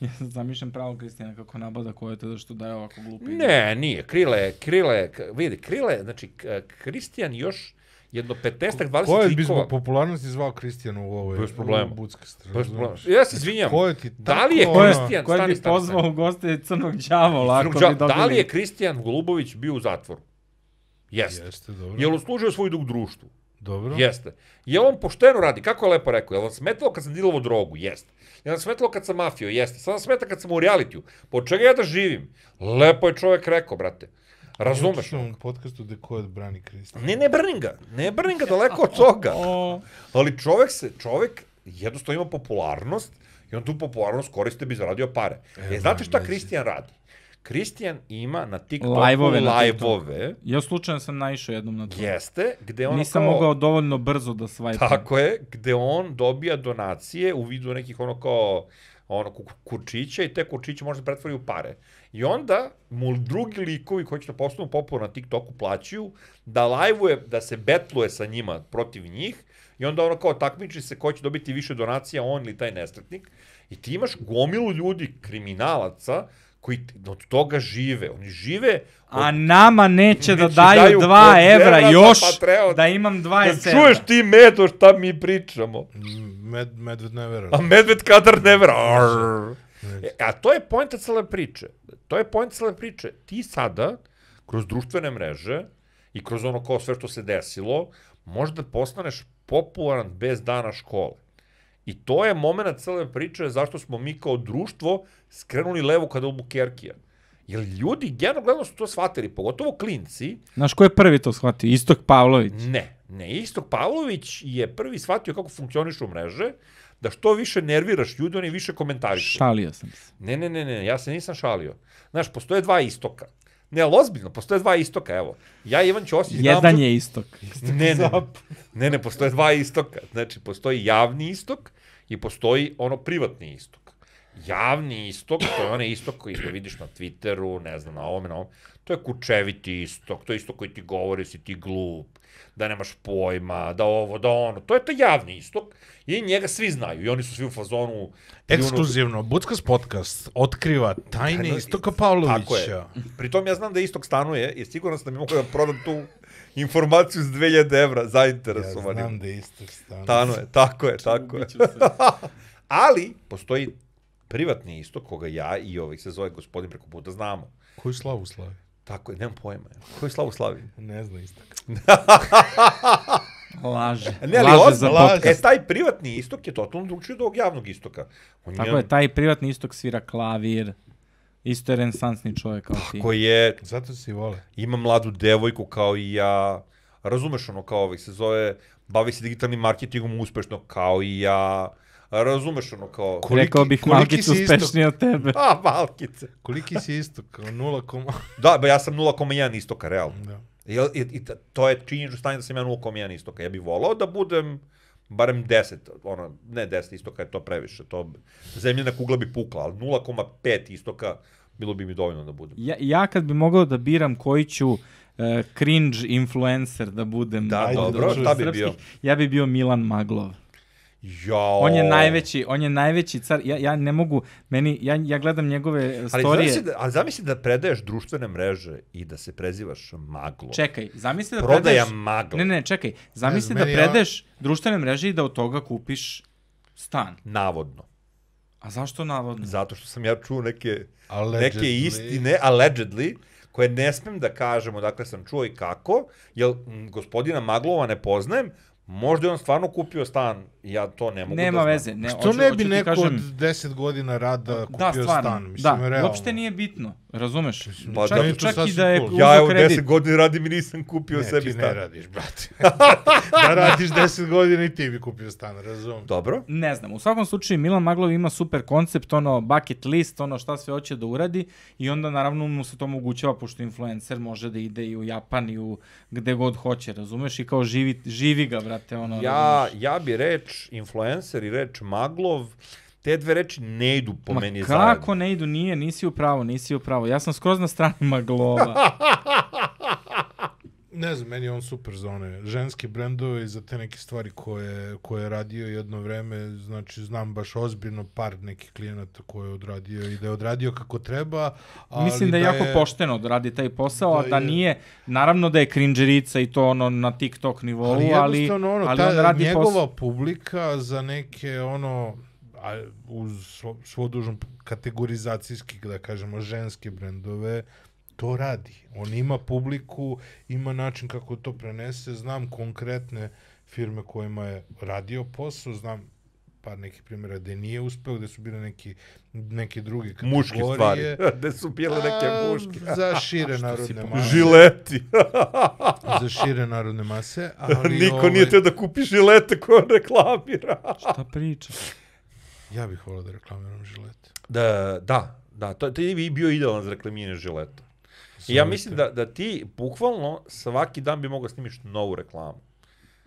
Ja sad zamišljam pravo Kristijana kako nabada ko je to da što daje ovako glupi.
Ne, nije. Krile, krile, k- vidi, krile, znači, k- Kristijan još jedno 15-ak, 20
Ko
likova.
je bi zbog popularnosti zvao Kristijanu u ovoj...
Bez problema.
u Buckast,
Bez problema.
razumeš?
Ja se izvinjam.
Ko je ti tako... ono-
Da li je
Ko je,
Kristijan,
ko je
stani,
bi
stani,
pozvao
stani.
u goste crnog đavola ako
Drug
bi
džavo,
dobili...
Da li je Kristijan Golubović bio u zatvoru? Jeste. Jeste.
Jeste, dobro.
Je li služio svoj dug društvu?
Dobro.
Jeste. Je on pošteno radi? Kako je lepo rekao? Je li vam smetalo kad sam dilovo drogu? Jeste. Je li vam smetalo kad sam mafio? Jeste. Sada smeta kad sam u realitiju. Po čega ja da živim? Lepo je čovjek rekao, brate. Razumeš?
Slušam u podcastu gde ko odbrani Kristijana.
Ne, ne brnim ga. Ne brnim ga daleko od toga.
O,
Ali čovjek se, čovjek jednostavno ima popularnost i on tu popularnost koriste bi zaradio pare. E,
E,
znate šta
mlađe.
Kristijan radi? Kristijan ima na TikToku
Live-ove
live-ove,
na
live-ove
ja slučajno sam naišao jednom na to.
jeste, gde ono
Nisam
kao,
mogao dovoljno brzo da svajpam.
Tako je, gde on dobija donacije u vidu nekih ono kao ono ku- kurčića i te kurčiće može da pretvori u pare. I onda mu drugi likovi koji će da postanu popularni na TikToku plaćaju da lajvuje, da se betluje sa njima protiv njih i onda ono kao takmiči se ko će dobiti više donacija, on ili taj nesretnik. I ti imaš gomilu ljudi, kriminalaca, koji t- od toga žive. Oni žive od
A nama neće da
Neće
daju
Znači, daju
2
po
evra
evra za
još
Patreon.
da imam 20
Da
evra.
čuješ ti medo šta mi pričamo.
Med, medved ne vera.
A medved kadar ne vera. Arr. E, A to je pojenta cele priče. To je pojenta cele priče. Ti sada, kroz društvene mreže i kroz ono kao sve što se desilo, možda postaneš popularan bez dana škole. I to je moment cele priče zašto smo mi kao društvo skrenuli levo kada u Bukerkija. Jer ljudi generalno gledano su to shvatili, pogotovo klinci,
Znaš ko je prvi to shvatio? Istok Pavlović.
Ne, ne. Istok Pavlović je prvi shvatio kako funkcionišu mreže, da što više nerviraš ljudi, oni više komentarišu.
Šalio sam se.
Ne, ne, ne, ne, ja se nisam šalio. Znaš, postoje dva istoka. Ne, ali ozbiljno, postoje dva istoka, evo. Ja i Ivan Ćosić...
Jedan je Istok.
Ne, ne, ne, ne, ne, postoje dva istoka. Znači, postoji javni istok i postoji ono privatni istok. Javni istok, to je onaj istok koji ga vidiš na Twitteru, ne znam, na ovome, na ovome. To je kučeviti istok, to je istok koji ti govori si ti glup, da nemaš pojma, da ovo, da ono. To je to javni istok i njega svi znaju i oni su svi u fazonu... ono-
Ekskluzivno, Buckas podcast otkriva tajne
Tajne- Tako
Istoka
je.
Pavlovića.
Pritom ja znam da Istok stanuje i siguran sam da mi mogu da prodam tu informaciju s 2000 evra
Ja
zainteresovanim.
znam da je Istok stan.
Stanuje, tako je, tako je. Ali postoji privatni istok koga ja i ovaj se zove gospodin preko puta znamo.
Koju slavu slavi?
Tako je, nemam pojma. Koju slavu slavi?
Ne zna Istok.
Laže.
Ne, ali
laže
on,
za
laže.
podcast.
E, taj privatni istok je totalno drugčiji od ovog javnog istoka. On
Tako je, taj privatni istok svira klavir. Isto je renesansni čovjek kao ti.
Koji je,
Zato se i vole.
ima mladu devojku kao i ja, razumeš ono kao ovih se zove, bavi se digitalnim marketingom uspešno kao i ja, razumeš ono kao...
Ko- koliki-
Rekao bih
koliki
malkicu
si istok?
uspešniji od tebe.
A, malkice.
Koliki si Istok? Kao Nula koma...
Da, ba ja sam 0,1 istoka, realno.
Da.
I, i, i t- to je činjenično stanje da sam ja 0,1 istoka. Ja bih volao da budem barem 10, ono, ne 10 istoka je to previše, to bi- zemljina kugla bi pukla, ali 0,5 istoka bilo bi mi dovoljno da budem.
Ja, ja kad bi mogao da biram koji ću uh, cringe influencer da budem
Da,
od-
dobro,
od
šta bi
srpskih,
bio?
ja bi bio Milan Maglov.
Jao.
On je najveći, on je najveći car. Ja, ja ne mogu, meni, ja, ja gledam njegove
Ali
storije.
zamisli, da, ali zamisli da predaješ društvene mreže i da se prezivaš maglo.
Čekaj, zamisli da
Prodaja
predaješ...
maglo.
Ne, ne, čekaj. Zamisli
Ne
da
znam, meni je-
predeš društvene mreže i da od toga kupiš stan.
Navodno.
A zašto navodno?
Zato što sam ja čuo neke,
Allegedly.
neke istine, allegedly, koje ne smem da kažem odakle sam čuo i kako, jer m, gospodina Maglova ne poznajem, možda je on stvarno kupio stan, ja to ne mogu
Nema
da znam.
veze. Ne,
Što
hoću-
ne bi
hoću ti
neko
kažem,
od 10 godina rada kupio
da, stvarno,
stan? Mislim,
da,
realno.
uopšte nije bitno, razumeš?
Pa
čak,
da.
da,
Meni
to
čak i
sasvim
da je
cool.
uzeo
Ja evo
kredit.
10 godina radim i nisam kupio
Ne,
sebi
ti ne
stan.
radiš, brate. da radiš 10 godina i ti bi kupio stan, razumem.
Dobro.
Ne znam, u svakom slučaju Milan Maglov ima super koncept, ono bucket list, ono šta sve hoće da uradi i onda naravno mu se to omogućava pošto influencer može da ide i u Japan i u gde god hoće, razumeš? I kao živi, živi ga, brate, ono,
Ja,
razumeš?
ja bi reč influencer i reč Maglov, te dve reči ne idu po
Ma
meni
kako
zajedno.
ne idu, nije, nisi u pravu, nisi u pravu. Ja sam skroz na strani Maglova.
Ne znam, meni je on super za one ženske brendove i za te neke stvari koje, koje je radio jedno vreme. Znači, znam baš ozbiljno par nekih klijenata koje je odradio i da je odradio kako treba. Ali
Mislim da je jako pošteno da radi taj posao,
da
a da
je-
nije, naravno da je krinđerica i to ono na TikTok nivou, ali, ali,
jednostavno ono,
ali
ta
on radi
njegova
posao.
publika za neke ono a, uz svo- svo dužno kategorizacijski da kažemo ženske brendove to radi. On ima publiku, ima način kako to prenese, znam konkretne firme kojima je radio posao, znam par nekih primjera gde nije uspeo, gde su bile neki, neke druge kategorije.
Muške stvari. Gde su bile neke
A,
muške.
Za šire narodne mase.
Žileti.
Za šire narodne mase. Ali
Niko
ovaj,
nije teo da kupi žilete koje on reklamira.
Šta pričaš?
Ja bih volao da reklamiram žilete.
Da, da, da, to, to je i bio idealan za reklamiranje žileta. I ja mislim da, da ti bukvalno svaki dan bi mogao snimiš novu reklamu.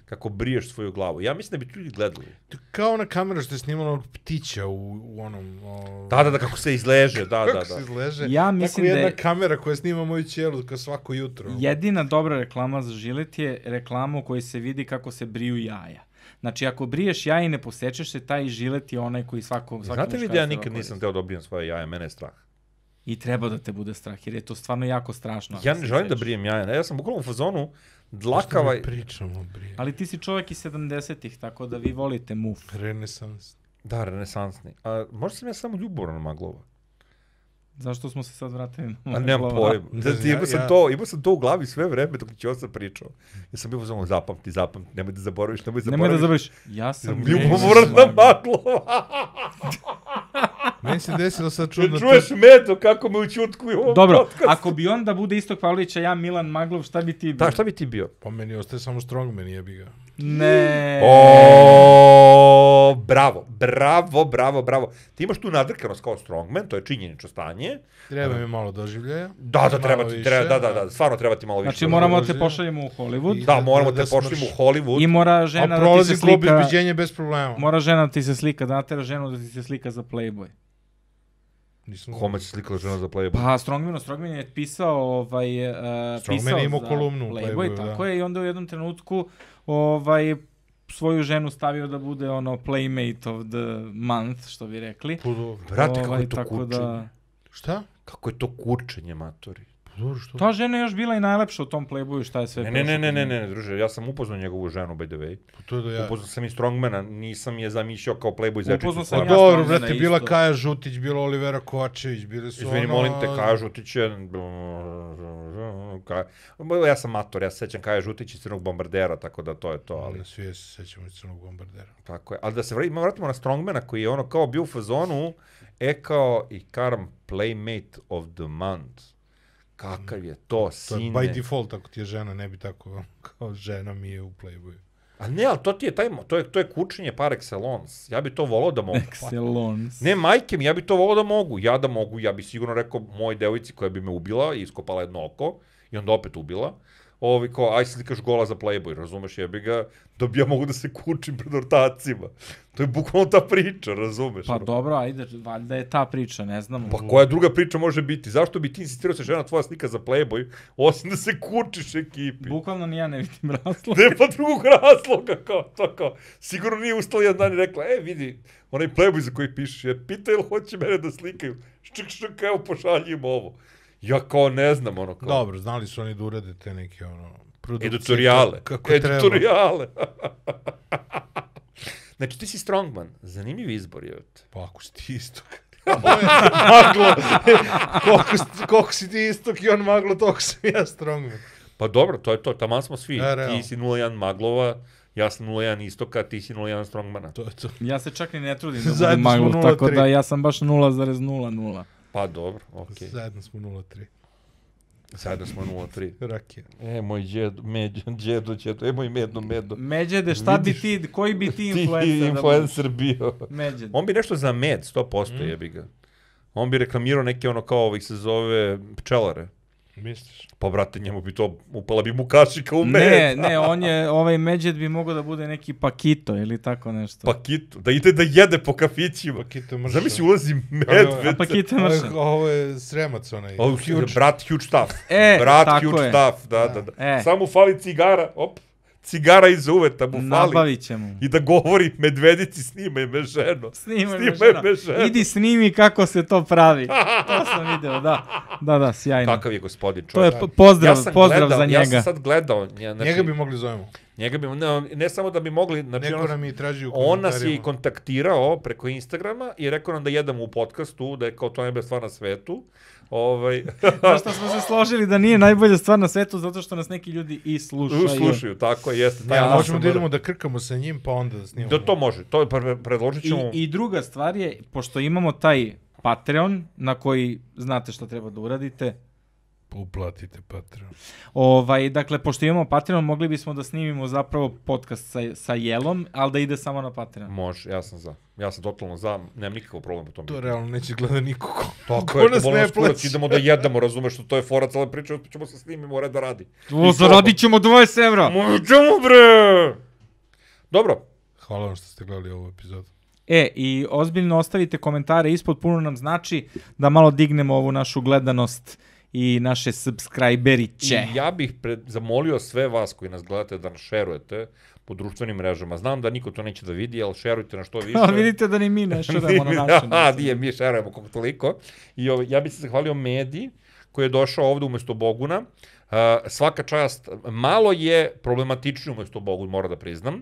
Kako briješ svoju glavu. Ja mislim da bi tu ljudi gledali.
To je Kao ona kamera što je snimala onog ptića u, u onom... O,
Da, da, da, kako se izleže, da, da,
kako
da.
se izleže.
Ja mislim
Tako
da
jedna
je-
kamera koja snima moju ćelu kao svako jutro.
Jedina dobra reklama za žilet je reklama u kojoj se vidi kako se briju jaja. Znači, ako briješ jaja i ne posečeš se, taj žilet je onaj koji svako... svaki
Znate vi da
muškarac
ja
treba
nikad nisam
koristiti.
teo da obrijem svoje jaje, mene je strah.
I treba da te bude strah, jer je to stvarno jako strašno. ako
Ja
se
ne želim da
sečeš.
brijem jaja. Ja sam bukvalno u fazonu
Što
dlakava.
mi pričamo, brije.
Ali ti si čovjek iz 70-ih, tako da vi volite muf.
Renesans.
Da, renesansni. A možda sam ja samo ljubomoran maglova.
Zašto smo se sad vratili? na
A nemam
Maglova?
pojma.
Ne
Da,
znam,
ti,
ja-
imao, sam
ja-
to, imao sam to u glavi sve vreme dok će sam pričao. Ja sam bio samo zapamti, zapamti, nemoj da zaboraviš, nemoj da
Nemoj da
zaboraviš.
zabriš. Ja sam...
Ljubomoran na maglova.
Meni se desilo sad
Jel
čudno...
čuješ meto kako me učutkuju u ovom
Dobro,
podcastu?
ako bi on da bude Istok Pavlovića, ja Milan Maglov, šta bi ti... bio?
Da, šta bi ti bio?
Pa meni ostaje samo strongman, jebi ga.
Ne.
O, bravo, bravo, bravo, bravo. Ti imaš tu nadrkanost kao strongman, to je činjenično stanje.
Treba mi malo doživljaja.
Da, da,
Malo
treba ti,
više,
treba, da, da,
a-
da, stvarno treba ti malo više.
Znači, moramo da
Uložio.
te pošaljemo u Hollywood.
Da, moramo
da-
te
da
pošli
smrš.
u Hollywood.
I mora žena
A
da ti
prolazi
se
klub
slika...
izbiđenje bez problema.
Mora žena da ti se slika, da natera ženu da ti se slika za Playboy.
Nisam
Kome se slikala žena za Playboy?
Pa Strongman, Strongman je pisao, ovaj, uh,
Strongman
pisao
je imao
za
kolumnu u Playboyu,
tako
da.
je, i onda u jednom trenutku ovaj, svoju ženu stavio da bude ono playmate of the month, što bi rekli. Ovaj,
Pudo.
Brate, kako je to
tako
kurčenje.
Da...
Pa Šta?
Kako je to kurčenje, matori.
Pudo, što?
Ta žena je još bila i najlepša u tom playboyu, šta je sve
Ne, ne,
prošlo
ne, ne,
kroz
ne,
nju.
ne, druže, ja sam upoznao njegovu ženu, by the way.
Pa To je da ja.
Upoznao sam i Strongmana, nisam je zamišljao kao Playboy zečicu.
Upoznao sam
Pa
ja
dobro,
Strongmana
brate, bila
isto.
Kaja Žutić, bila Olivera Kovačević, bile su
Izvini,
ono...
molim te, Kaja Žutić je... Kaja- Bo Ja sam mator, ja se sećam Kaja Žutić iz Crnog bombardera, tako da to je to, ali...
Ali Pa svi je se sećamo iz crnog bombardera.
Tako je. Ali da se vratimo, vratimo na Strongmana koji je ono kao bio u fazonu, e kao i Karm Playmate of the Month. Kakav je to,
To je
sine.
by default, ako ti je žena, ne bi tako kao žena mi je u Playboyu.
A ne, ali to ti je taj, mo- to je, to je kučenje par excellence. Ja bi to volao da mogu.
Excellence.
Ne, majke mi, ja bi to volao da mogu. Ja da mogu, ja bi sigurno rekao moj devojci koja bi me ubila i iskopala jedno oko i onda opet ubila. Ovi kao, aj slikaš gola za Playboy, razumeš, jebi ga, da bi ja mogu da se kučim pred ortacima. To je bukvalno ta priča, razumeš?
Pa
ono.
dobro, ajde, valjda je ta priča, ne znam.
Pa koja druga priča može biti? Zašto bi ti insistirao da se žena tvoja slika za Playboy, osim da se kučiš ekipi?
Bukvalno ni ja ne vidim razlog.
Nema pa drugog razloga, kao to, kao. Sigurno nije ustala jedan dan i rekla, e, vidi, onaj Playboy za koji pišeš, ja pita ili hoće mene da slikaju. Ščk, ščk, evo, pošaljim ovo. Ja kao ne znam, ono, kao.
Dobro, znali su oni da urade te neke ono... produkcije
Editoriale.
kako- Kako treba.
Editoriale. znači, ti si strongman. Zanimljiv izbor, je.
Pa ako si ti istok. maglo. koliko, si- koliko si ti istok i on maglo, toliko sam ja strongman.
Pa dobro, to je to. Taman smo svi.
Da, realno.
ti si 0-1 Maglova, ja sam 0-1 Istoka, ti si 0-1 Strongmana.
To je to.
Ja se čak i ne trudim da budem
Zajedno smo
maglu, tako
0,3.
da ja sam baš 0,00.
Pa dobro, okej. Okay.
Zajedno smo 0-3.
Sada smo 0-3.
Rakija.
E, moj djedo, međo, djedo, djedo, e, moj medno, medno.
Međede, šta
Vidiš?
bi ti, koji bi ti
Ti
influencer? da
influencer bio.
budeš? Međede.
On bi nešto za med, 100% mm. jebi ga. On bi reklamirao neke ono kao ovih se zove pčelare.
Misliš?
Pa brate, njemu bi to, upala bi mu kašika u med.
Ne, ne, on je, ovaj Međed bi mogao da bude neki Pakito ili tako nešto.
Pa kitu, da ide da jede po kafićima.
Pakito mrša.
Zamisli ulazi
A pa
medved.
Pakito je mršan.
Ovo je sremac onaj.
Ovo je brat huge stuff.
E,
brat
tako
huge
je.
stuff, da, da, da.
E.
Samo fali cigara, op. Cigara iz uveta mu fali.
Nabavit ćemo.
I da govori medvedici snimaj me ženo.
Snimaj me
Snimaj
žena.
me žena.
Idi snimi kako se to pravi. To sam video, da. Da, da, sjajno.
Kakav je gospodin
To je
čovjek.
po- pozdrav,
sam
pozdrav
gledao,
za
Ja sam
njega.
sad gledao. Ja, znači,
Njega bi mogli zovemo.
njega bi ne, ne samo da bi mogli, znači
Neko
on,
nam je tražio u
on nas je i
komentarima.
kontaktirao preko Instagrama i rekao nam da jedemo u podcastu, da je kao to najbolja stvar na svetu. Ovaj,
Zašto smo se složili da nije najbolja stvar na svetu zato što nas neki ljudi i slušaju.
slušaju, tako je, jeste. taj
Ne, ali
naš
možemo da
mrv.
idemo da krkamo sa njim, pa onda da snimamo.
Da to može, to je pre- predložit
I,
ćemo.
I druga stvar je, pošto imamo taj Patreon na koji znate šta treba da uradite,
Uplatite Patreon.
Ovaj, dakle, pošto imamo Patreon, mogli bismo da snimimo zapravo podcast sa, sa Jelom, ali da ide samo na Patreon.
Može, ja sam za. Ja sam totalno za, nemam nikakav problem po tom.
To realno neće gleda niko ko,
Tako
ko
je,
nas
bolo
ne
nas kurac,
plaći.
idemo da jedemo, razumeš, to je fora cela priča, pa ćemo se snimimo, red da radi.
O, zaradit ćemo 20 evra!
Možemo, bre! Dobro,
Hvala vam što ste gledali ovu epizodu.
E, i ozbiljno ostavite komentare ispod, puno nam znači da malo dignemo ovu našu gledanost i naše subscriberiće.
I ja bih pred, zamolio sve vas koji nas gledate da nas šerujete po društvenim mrežama. Znam da niko to neće da vidi, ali šerujte na što više.
Ali vidite da ni mi ne širamo na naše.
A,
načine.
nije, mi šerujemo koliko toliko. I ovaj, ja bih se zahvalio Medi, koji je došao ovde umjesto Boguna. Uh, svaka čast, malo je problematičnije umjesto Bogun, mora da priznam.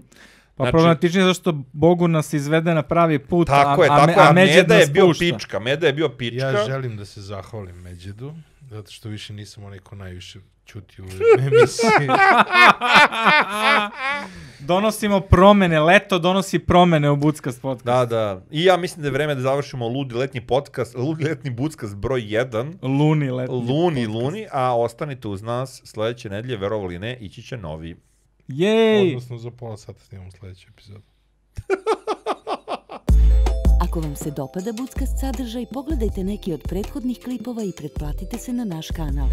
Pa znači, problematičnije je zašto Bogu nas izvede na pravi put,
Tako
a,
je,
a,
tako je. A,
a, Međed
Meda je
nas
bio
pušta.
pička, Meda je bio pička.
Ja želim da se zahvalim Međedu, zato što više nisam onaj ko najviše ćuti u ovoj emisiji.
Donosimo promene, leto donosi promene u Buckast podcast.
Da, da. I ja mislim da je vreme da završimo ludi letnji podcast, ludi letnji buckast broj 1.
Luni leto.
Luni, luni, a ostanite uz nas sledeće nedelje, verovali ne, ići će novi.
Jej!
Odnosno za pola sata snimamo sljedeću epizodu.
Ako vam se dopada Budskast sadržaj, pogledajte neki od prethodnih klipova i pretplatite se na naš kanal.